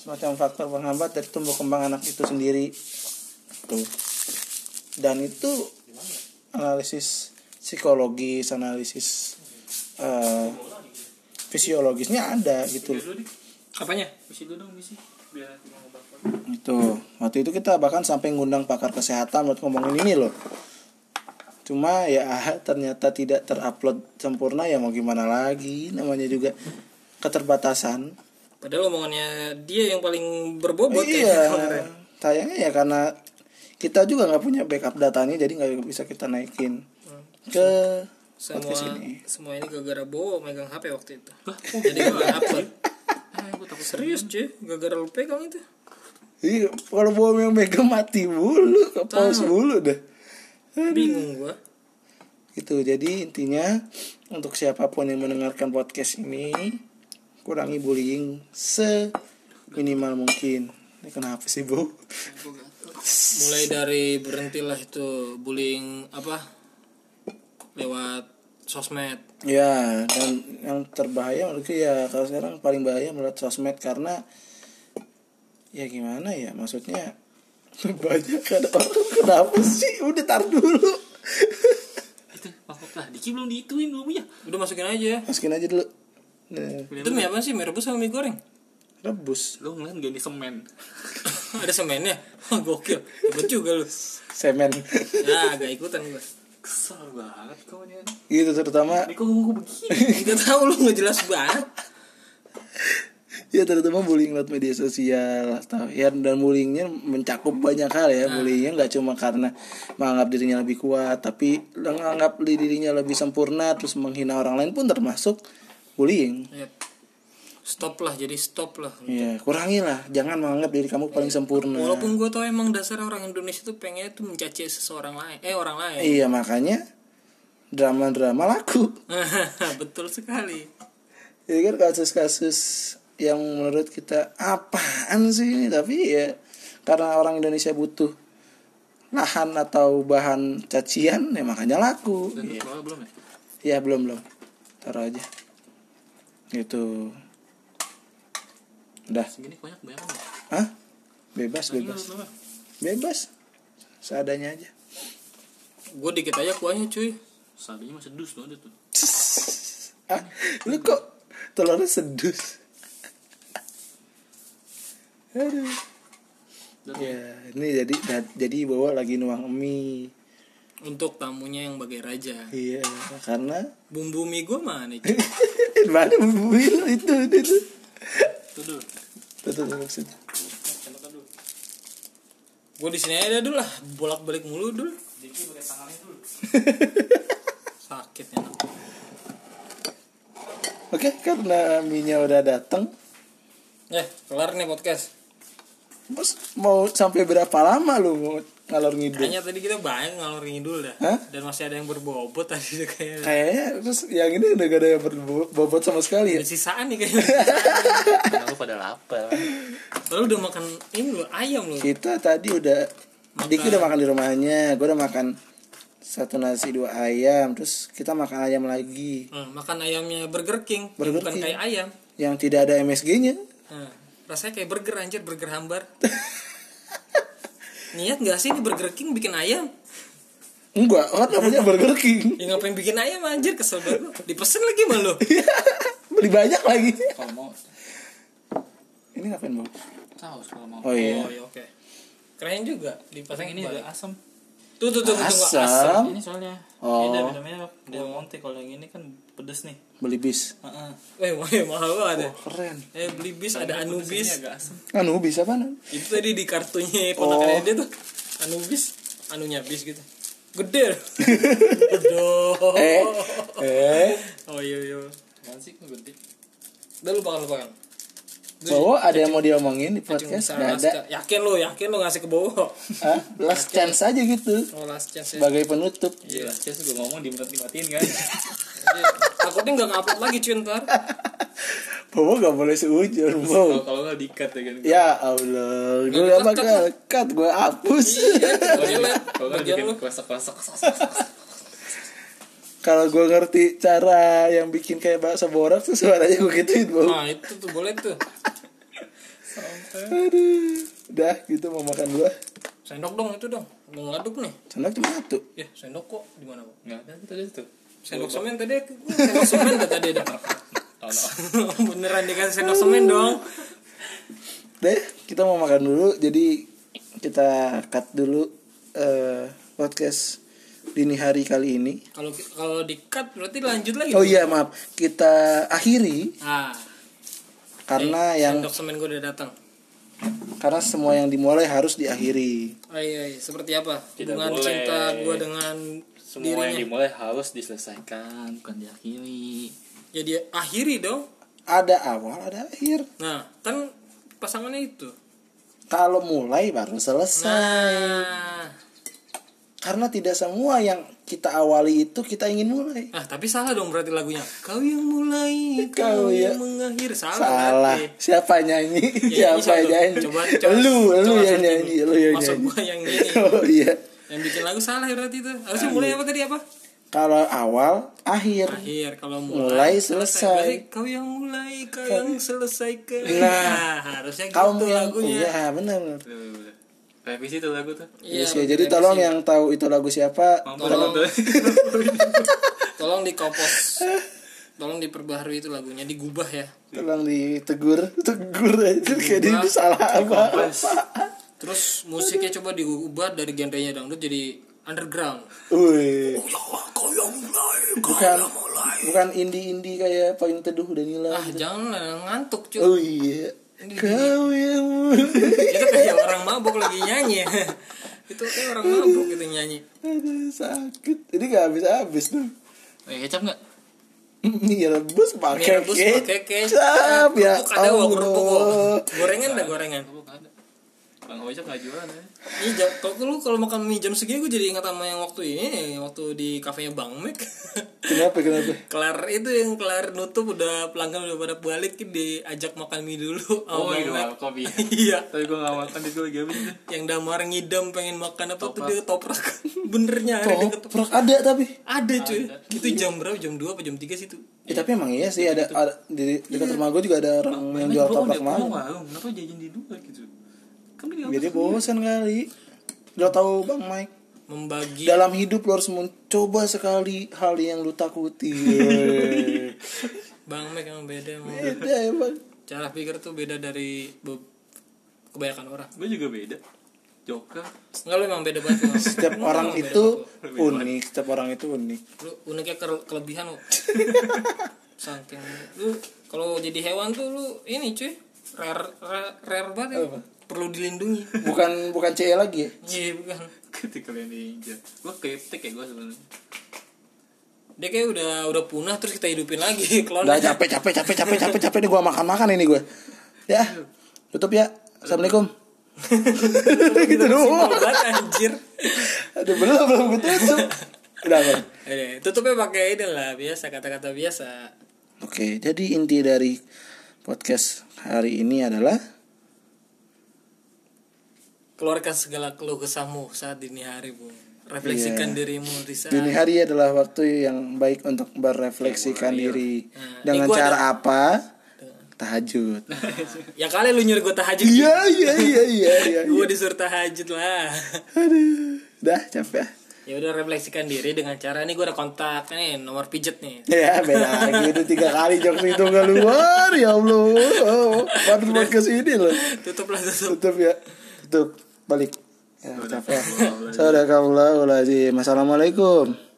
Speaker 2: semacam faktor penghambat dari tumbuh kembang anak itu sendiri tuh dan itu analisis psikologis analisis eh, fisiologisnya ada gitu loh.
Speaker 1: Apanya?
Speaker 4: Isi dulu dong isi biar aku mau bakar.
Speaker 2: Itu. Gitu. Waktu itu kita bahkan sampai ngundang pakar kesehatan buat ngomongin ini loh. Cuma ya ternyata tidak terupload sempurna ya mau gimana lagi namanya juga keterbatasan.
Speaker 1: Padahal omongannya dia yang paling berbobot
Speaker 2: iya. Tayangnya ya karena kita juga nggak punya backup datanya jadi nggak bisa kita naikin ke
Speaker 1: Semua
Speaker 2: podcast ini.
Speaker 1: semua ini gara-gara Bowo megang HP waktu itu. Jadi gak upload. Serius cuy, gara-gara lu pegang itu.
Speaker 2: Iya, kalau bawa yang megang mati bulu, ke paus bulu dah.
Speaker 1: Bingung gua.
Speaker 2: gitu jadi intinya untuk siapapun yang mendengarkan podcast ini kurangi bullying se minimal mungkin ini kenapa sih bu
Speaker 1: Mulai dari berhentilah itu bullying apa? Lewat sosmed.
Speaker 2: ya dan yang terbahaya menurutku ya kalau sekarang paling bahaya melihat sosmed karena ya gimana ya maksudnya banyak kan orang kenapa sih udah tar dulu
Speaker 4: Itu mangkok lah. Diki belum diituin belum ya.
Speaker 1: Udah masukin aja ya.
Speaker 2: masukin aja dulu Nah,
Speaker 1: Itu mie apa sih? Mie rebus sama mie goreng?
Speaker 2: rebus
Speaker 4: Lu ngeliat gak ini semen.
Speaker 1: Ada semennya? Hah, Gokil. Hebat juga lu.
Speaker 2: semen
Speaker 1: Ya, agak ikutan gua.
Speaker 4: Kesel banget kau ini.
Speaker 2: gitu terutama
Speaker 4: Ini kok ngomong begini.
Speaker 1: Enggak tahu lu nggak jelas banget.
Speaker 2: Ya terutama bullying lewat media sosial atau ya dan bullyingnya mencakup banyak hal ya bullyingnya nggak cuma karena menganggap dirinya lebih kuat tapi menganggap dirinya lebih sempurna terus menghina orang lain pun termasuk bullying
Speaker 1: Yap. Stop lah, jadi stop lah.
Speaker 2: ya kurangilah jangan menganggap diri kamu paling sempurna
Speaker 1: Walaupun gue tau emang dasar orang Indonesia tuh pengennya tuh mencaci seseorang lain, eh orang lain.
Speaker 2: iya makanya drama-drama laku
Speaker 1: Betul sekali.
Speaker 2: Jadi kan kasus-kasus yang menurut kita apaan sih ini tapi ya karena orang Indonesia butuh lahan atau bahan cacian ya makanya laku.
Speaker 4: Dan
Speaker 2: Iya.
Speaker 4: keluar belum ya?
Speaker 2: Ya belum belum. Taruh aja. Gitu. Udah.
Speaker 4: Segini banyak banyak banget.
Speaker 2: Hah? Bebas bebas. Bebas. Seadanya aja.
Speaker 1: Gue dikit aja kuahnya cuy.
Speaker 4: Sabinya masih dus loh dia tuh.
Speaker 2: Ah, lu kok telurnya sedus? Aduh. Ya, ini jadi da- jadi bawa lagi nuang mie.
Speaker 1: Untuk tamunya yang bagai raja.
Speaker 2: Iya, karena
Speaker 1: Bumbu mie gue mana cuy?
Speaker 2: mana bumbu itu itu itu.
Speaker 4: Tuh dulu.
Speaker 2: Tuh, tuh, tuh, maksudnya.
Speaker 4: Cendoknya dulu.
Speaker 1: Gue di sini aja dulu lah, bolak balik mulu dulu.
Speaker 4: Diki pakai tangannya dulu.
Speaker 1: Sakit enak.
Speaker 2: Oke, karena mie-nya udah datang,
Speaker 1: Eh, kelar nih podcast.
Speaker 2: Bos mau sampai berapa lama lu mau ngalor ngidul
Speaker 4: Kayaknya tadi kita banyak ngalor ngidul dah.
Speaker 2: Hah?
Speaker 4: Dan masih ada yang berbobot tadi tuh kayaknya.
Speaker 2: kayaknya terus yang ini udah gak ada yang berbo- bobot sama sekali ya
Speaker 4: Ada sisaan nih kayaknya.
Speaker 5: Karena lu pada lapar.
Speaker 4: Lalu udah makan ini lu ayam lu.
Speaker 2: kita tadi udah Diki udah makan di rumahnya gue udah makan satu nasi dua ayam terus kita makan ayam lagi
Speaker 4: Hmm, makan ayamnya Burger King,
Speaker 2: Burger
Speaker 4: bukan
Speaker 2: King.
Speaker 4: kayak ayam.
Speaker 2: yang tidak ada MSG-nya
Speaker 4: Hmm, rasanya kayak burger anjir, burger hambar. Niat gak sih ini Burger King bikin ayam?
Speaker 2: enggak kan namanya Burger King
Speaker 4: Ya ngapain bikin ayam anjir, kesel banget. gua. Dipesen lagi malu.
Speaker 2: Iya. beli banyak lagi
Speaker 5: Kalau Oh, mau
Speaker 2: ini ngapain bang
Speaker 5: saus kalau mau.
Speaker 2: oh
Speaker 4: Oh,
Speaker 2: iya
Speaker 4: ya oke. Keren juga
Speaker 5: Pasang
Speaker 4: dipasang
Speaker 5: ini agak asam.
Speaker 4: Tuh tuh tuh tuh, tuh, tuh, asam.
Speaker 2: asam
Speaker 5: Ini soalnya
Speaker 2: Oh.
Speaker 5: beda beda merek. Del Monte kalau yang ini kan pedes nih.
Speaker 2: beli bis
Speaker 5: Heeh.
Speaker 4: Eh, wah, ya, mahal banget. ya.
Speaker 2: keren
Speaker 4: Eh, beli bis ada
Speaker 5: Ini
Speaker 4: Anubis.
Speaker 5: agak asam.
Speaker 2: anu bisa apa Nan?
Speaker 4: Itu tadi di kartunya
Speaker 2: Oh.
Speaker 4: ponakannya dia tuh Anubis, anunya bis gitu. Gede. Aduh.
Speaker 2: eh eh
Speaker 4: Oh iya iya.
Speaker 5: Apaan sih kok gede?
Speaker 4: Udah lupakan lupakan.
Speaker 2: Bowo ada yang mau diomongin di
Speaker 4: Cuma
Speaker 2: podcast
Speaker 4: bisa
Speaker 2: nggak ada
Speaker 4: Alaska. Yakin lo, yakin lo ngasih ke Bowo.
Speaker 2: Hah? last chance aja gitu
Speaker 4: Oh last chance ya.
Speaker 2: sebagai penutup
Speaker 5: Iya, saya juga ngomong dimatiin kan.
Speaker 4: Jadi, Takutnya nggak ngupload lagi cuy ntar.
Speaker 2: Bowo gak boleh seujur
Speaker 5: Kalau
Speaker 2: Bowo
Speaker 5: kalau nggak dikat ya kan.
Speaker 2: ya Allah gue gak bakal cut gue hapus
Speaker 5: Kalau
Speaker 4: Iya,
Speaker 5: nggak- Kalau nggak
Speaker 4: bagian
Speaker 5: bikin
Speaker 4: lu.
Speaker 5: kresek kresek.
Speaker 2: kalau gue ngerti cara yang bikin kayak bahasa borak tuh suaranya gue gituin Bowo
Speaker 4: Nah itu tuh boleh tuh.
Speaker 2: aduh udah gitu mau makan dua
Speaker 4: Sendok dong itu dong. Mau ngaduk nih.
Speaker 2: sendok cuma satu
Speaker 4: Ya sendok kok di mana kok?
Speaker 5: Nggak ada tadi tuh.
Speaker 4: Sendok semen tadi aku- sendok semen dah tadi dah.
Speaker 5: Oh, no.
Speaker 4: Beneran dikasih sendok semen dong.
Speaker 2: deh kita mau makan dulu jadi kita cut dulu eh, podcast dini hari kali ini
Speaker 4: Kalau kalau di-cut berarti lanjut lagi.
Speaker 2: oh iya maaf kita akhiri
Speaker 4: Ah,
Speaker 2: karena yang
Speaker 4: Eh, sendok semen gue udah datang.
Speaker 2: karena semua yang dimulai harus diakhiri
Speaker 4: Oh, iya, iya. seperti apa?
Speaker 5: Tidak
Speaker 4: hubungan
Speaker 5: boleh.
Speaker 4: cinta gue dengan
Speaker 5: Semua yang
Speaker 4: dirinya.
Speaker 5: dimulai harus diselesaikan, bukan diakhiri.
Speaker 4: Jadi akhiri dong.
Speaker 2: ada awal ada akhir
Speaker 4: Nah, kan pasangannya itu.
Speaker 2: kalau mulai baru selesai
Speaker 4: Nah,
Speaker 2: karena tidak semua yang kita awali itu kita ingin mulai
Speaker 4: ah tapi salah dong berarti lagunya. Kau yang mulai,
Speaker 2: Kau
Speaker 4: kau,
Speaker 2: ya-
Speaker 4: yang mengakhiri. Salah.
Speaker 2: salah
Speaker 4: berarti.
Speaker 2: siapa yang nyanyi
Speaker 4: Ya,
Speaker 2: siapa yang
Speaker 4: ini satu.
Speaker 2: nyanyi
Speaker 4: Coba, coba-
Speaker 2: lu lu
Speaker 4: coba
Speaker 2: yang
Speaker 4: satu.
Speaker 2: nyanyi lu yang
Speaker 4: Maksud
Speaker 2: nyanyi
Speaker 4: gua yang ini.
Speaker 2: oh iya
Speaker 4: Yang bikin lagu salah ya berarti itu. Harusnya mulai apa tadi apa?
Speaker 2: kalau awal akhir
Speaker 4: Akhir kalau
Speaker 2: Mulai
Speaker 4: mulai,
Speaker 2: selesai.
Speaker 4: Berarti kau yang mulai, kau yang selesaikan.
Speaker 2: Nah,
Speaker 4: harusnya
Speaker 2: kamu
Speaker 4: gitu
Speaker 2: yang
Speaker 4: lagunya.
Speaker 2: iya benar benar.
Speaker 5: Bener, bener, bener. Revisi tuh lagu tuh.
Speaker 4: Iya,
Speaker 2: Terus ya, jadi tolong yang tahu itu lagu siapa
Speaker 5: Mampu
Speaker 4: Tolong.
Speaker 5: tuh.
Speaker 4: tolong dikopos. Tolong diperbaharui itu lagunya, digubah ya.
Speaker 2: tolong ditegur tegur
Speaker 4: Iya.
Speaker 2: aja kayak di salah apa
Speaker 4: Terus musiknya coba diubah dari genrenya dangdut jadi underground.
Speaker 2: Wih,
Speaker 4: Kau yang mulai, kau
Speaker 2: bukan bukan indie indie kayak poin teduh Danila
Speaker 4: Ah, jangan lah, ngantuk cuy.
Speaker 2: oh iya kau yang mulai.
Speaker 4: itu ya kan? kayak orang mabuk lagi nyanyi itu kayak orang mabuk gitu nyanyi
Speaker 2: aduh sakit ini gak habis habis dong
Speaker 4: Oh, ya,
Speaker 5: Eh, kecap nggak?
Speaker 2: mie rebus
Speaker 4: mie
Speaker 2: Iya, pakai
Speaker 4: rebus pakai
Speaker 2: kecap ya
Speaker 4: kerupuk eh, ada wah kerupuk wah.
Speaker 2: Allah
Speaker 4: gorengan dah gorengan
Speaker 5: Aku nggak ada. Bang Ojek nggak jualan ya?
Speaker 4: ini jam kalau Iya, lu kalau makan mie jam segini gue jadi ingat sama yang waktu ini yang waktu di kafenya bang Mac
Speaker 2: kenapa kenapa
Speaker 4: kelar itu yang kelar nutup udah pelanggan udah pada balik diajak makan mie dulu sama
Speaker 5: Oh,
Speaker 4: Bang
Speaker 5: itu
Speaker 4: Mac.
Speaker 5: malam kopi.
Speaker 4: iya
Speaker 5: Tapi gua nggak makan itu lagi habis deh.
Speaker 4: yang damar ngidam pengen makan apa tuh dia toprak benernya ada deket
Speaker 2: Toprak Oh, ada tapi
Speaker 4: ada cuy itu jam berapa jam 2 apa jam 3 sih itu
Speaker 2: ya, tapi emang iya sih ada, ada di dekat rumah gue juga ada orang yang jual toprak malam
Speaker 5: warung, kenapa jajan di luar gitu? Kan dia
Speaker 2: jadi bosan kali lo tahu bang Mike
Speaker 4: membagi
Speaker 2: dalam hidup lo harus mencoba sekali hal yang lo takuti
Speaker 4: Bang Mac emang beda emang.
Speaker 2: beda emang
Speaker 4: Cara pikir tuh beda dari be- kebanyakan orang.
Speaker 5: Gua juga beda. Joker.
Speaker 4: Enggak lu emang beda banget. Bang.
Speaker 2: setiap
Speaker 4: Lu
Speaker 2: orang
Speaker 4: emang beda
Speaker 2: itu
Speaker 4: banget,
Speaker 2: unik setiap orang itu unik
Speaker 4: Bang. lu uniknya ke- kelebihan lu. Saking lu kalau jadi hewan tuh lu ini cuy rare rare, rare banget. ya.
Speaker 2: Apa?
Speaker 4: Perlu dilindungi.
Speaker 2: bukan bukan CE lagi ya?
Speaker 4: Iya bukan.
Speaker 5: Ketika kalian diinjak. Gua kriptik ya gua sebenarnya.
Speaker 4: Dia kayak udah udah punah terus kita hidupin lagi klon.
Speaker 2: Udah capek capek capek capek capek capek nih gua makan makan ini gua. Ya. Tutup ya. Assalamualaikum. gitu doang
Speaker 4: Obat anjir.
Speaker 2: aduh belum belum gue tutup udah Bang.
Speaker 4: Eh, tutupnya pakai ini lah biasa kata-kata biasa.
Speaker 2: Oke, jadi inti dari podcast hari ini adalah
Speaker 4: Keluarkan segala keluh kesahmu saat dini hari, Bung.
Speaker 2: Iya.
Speaker 4: Refleksikan dirimu di saat
Speaker 2: dini hari adalah waktu yang baik untuk berefleksikan diri
Speaker 4: Nah,
Speaker 2: dengan
Speaker 4: eh, gua
Speaker 2: cara apa? Nah. Tahajud.
Speaker 4: Ya kali lu nyuruh gue tahajud.
Speaker 2: Iya, iya, iya, iya, iya.
Speaker 4: Gue disuruh tahajud lah.
Speaker 2: Aduh, dah capek.
Speaker 4: ya udah refleksikan diri dengan cara ini gue ada kontak nih nomor pijet nih.
Speaker 2: Ya, beda lagi itu tiga kali jokes itu keluar ya Allah. Oh, baru podcast ini loh.
Speaker 4: Tutuplah tutup.
Speaker 2: Tutup ya. Tutup. Balik. Ya, capek. Sadaqallahul azim. Assalamualaikum.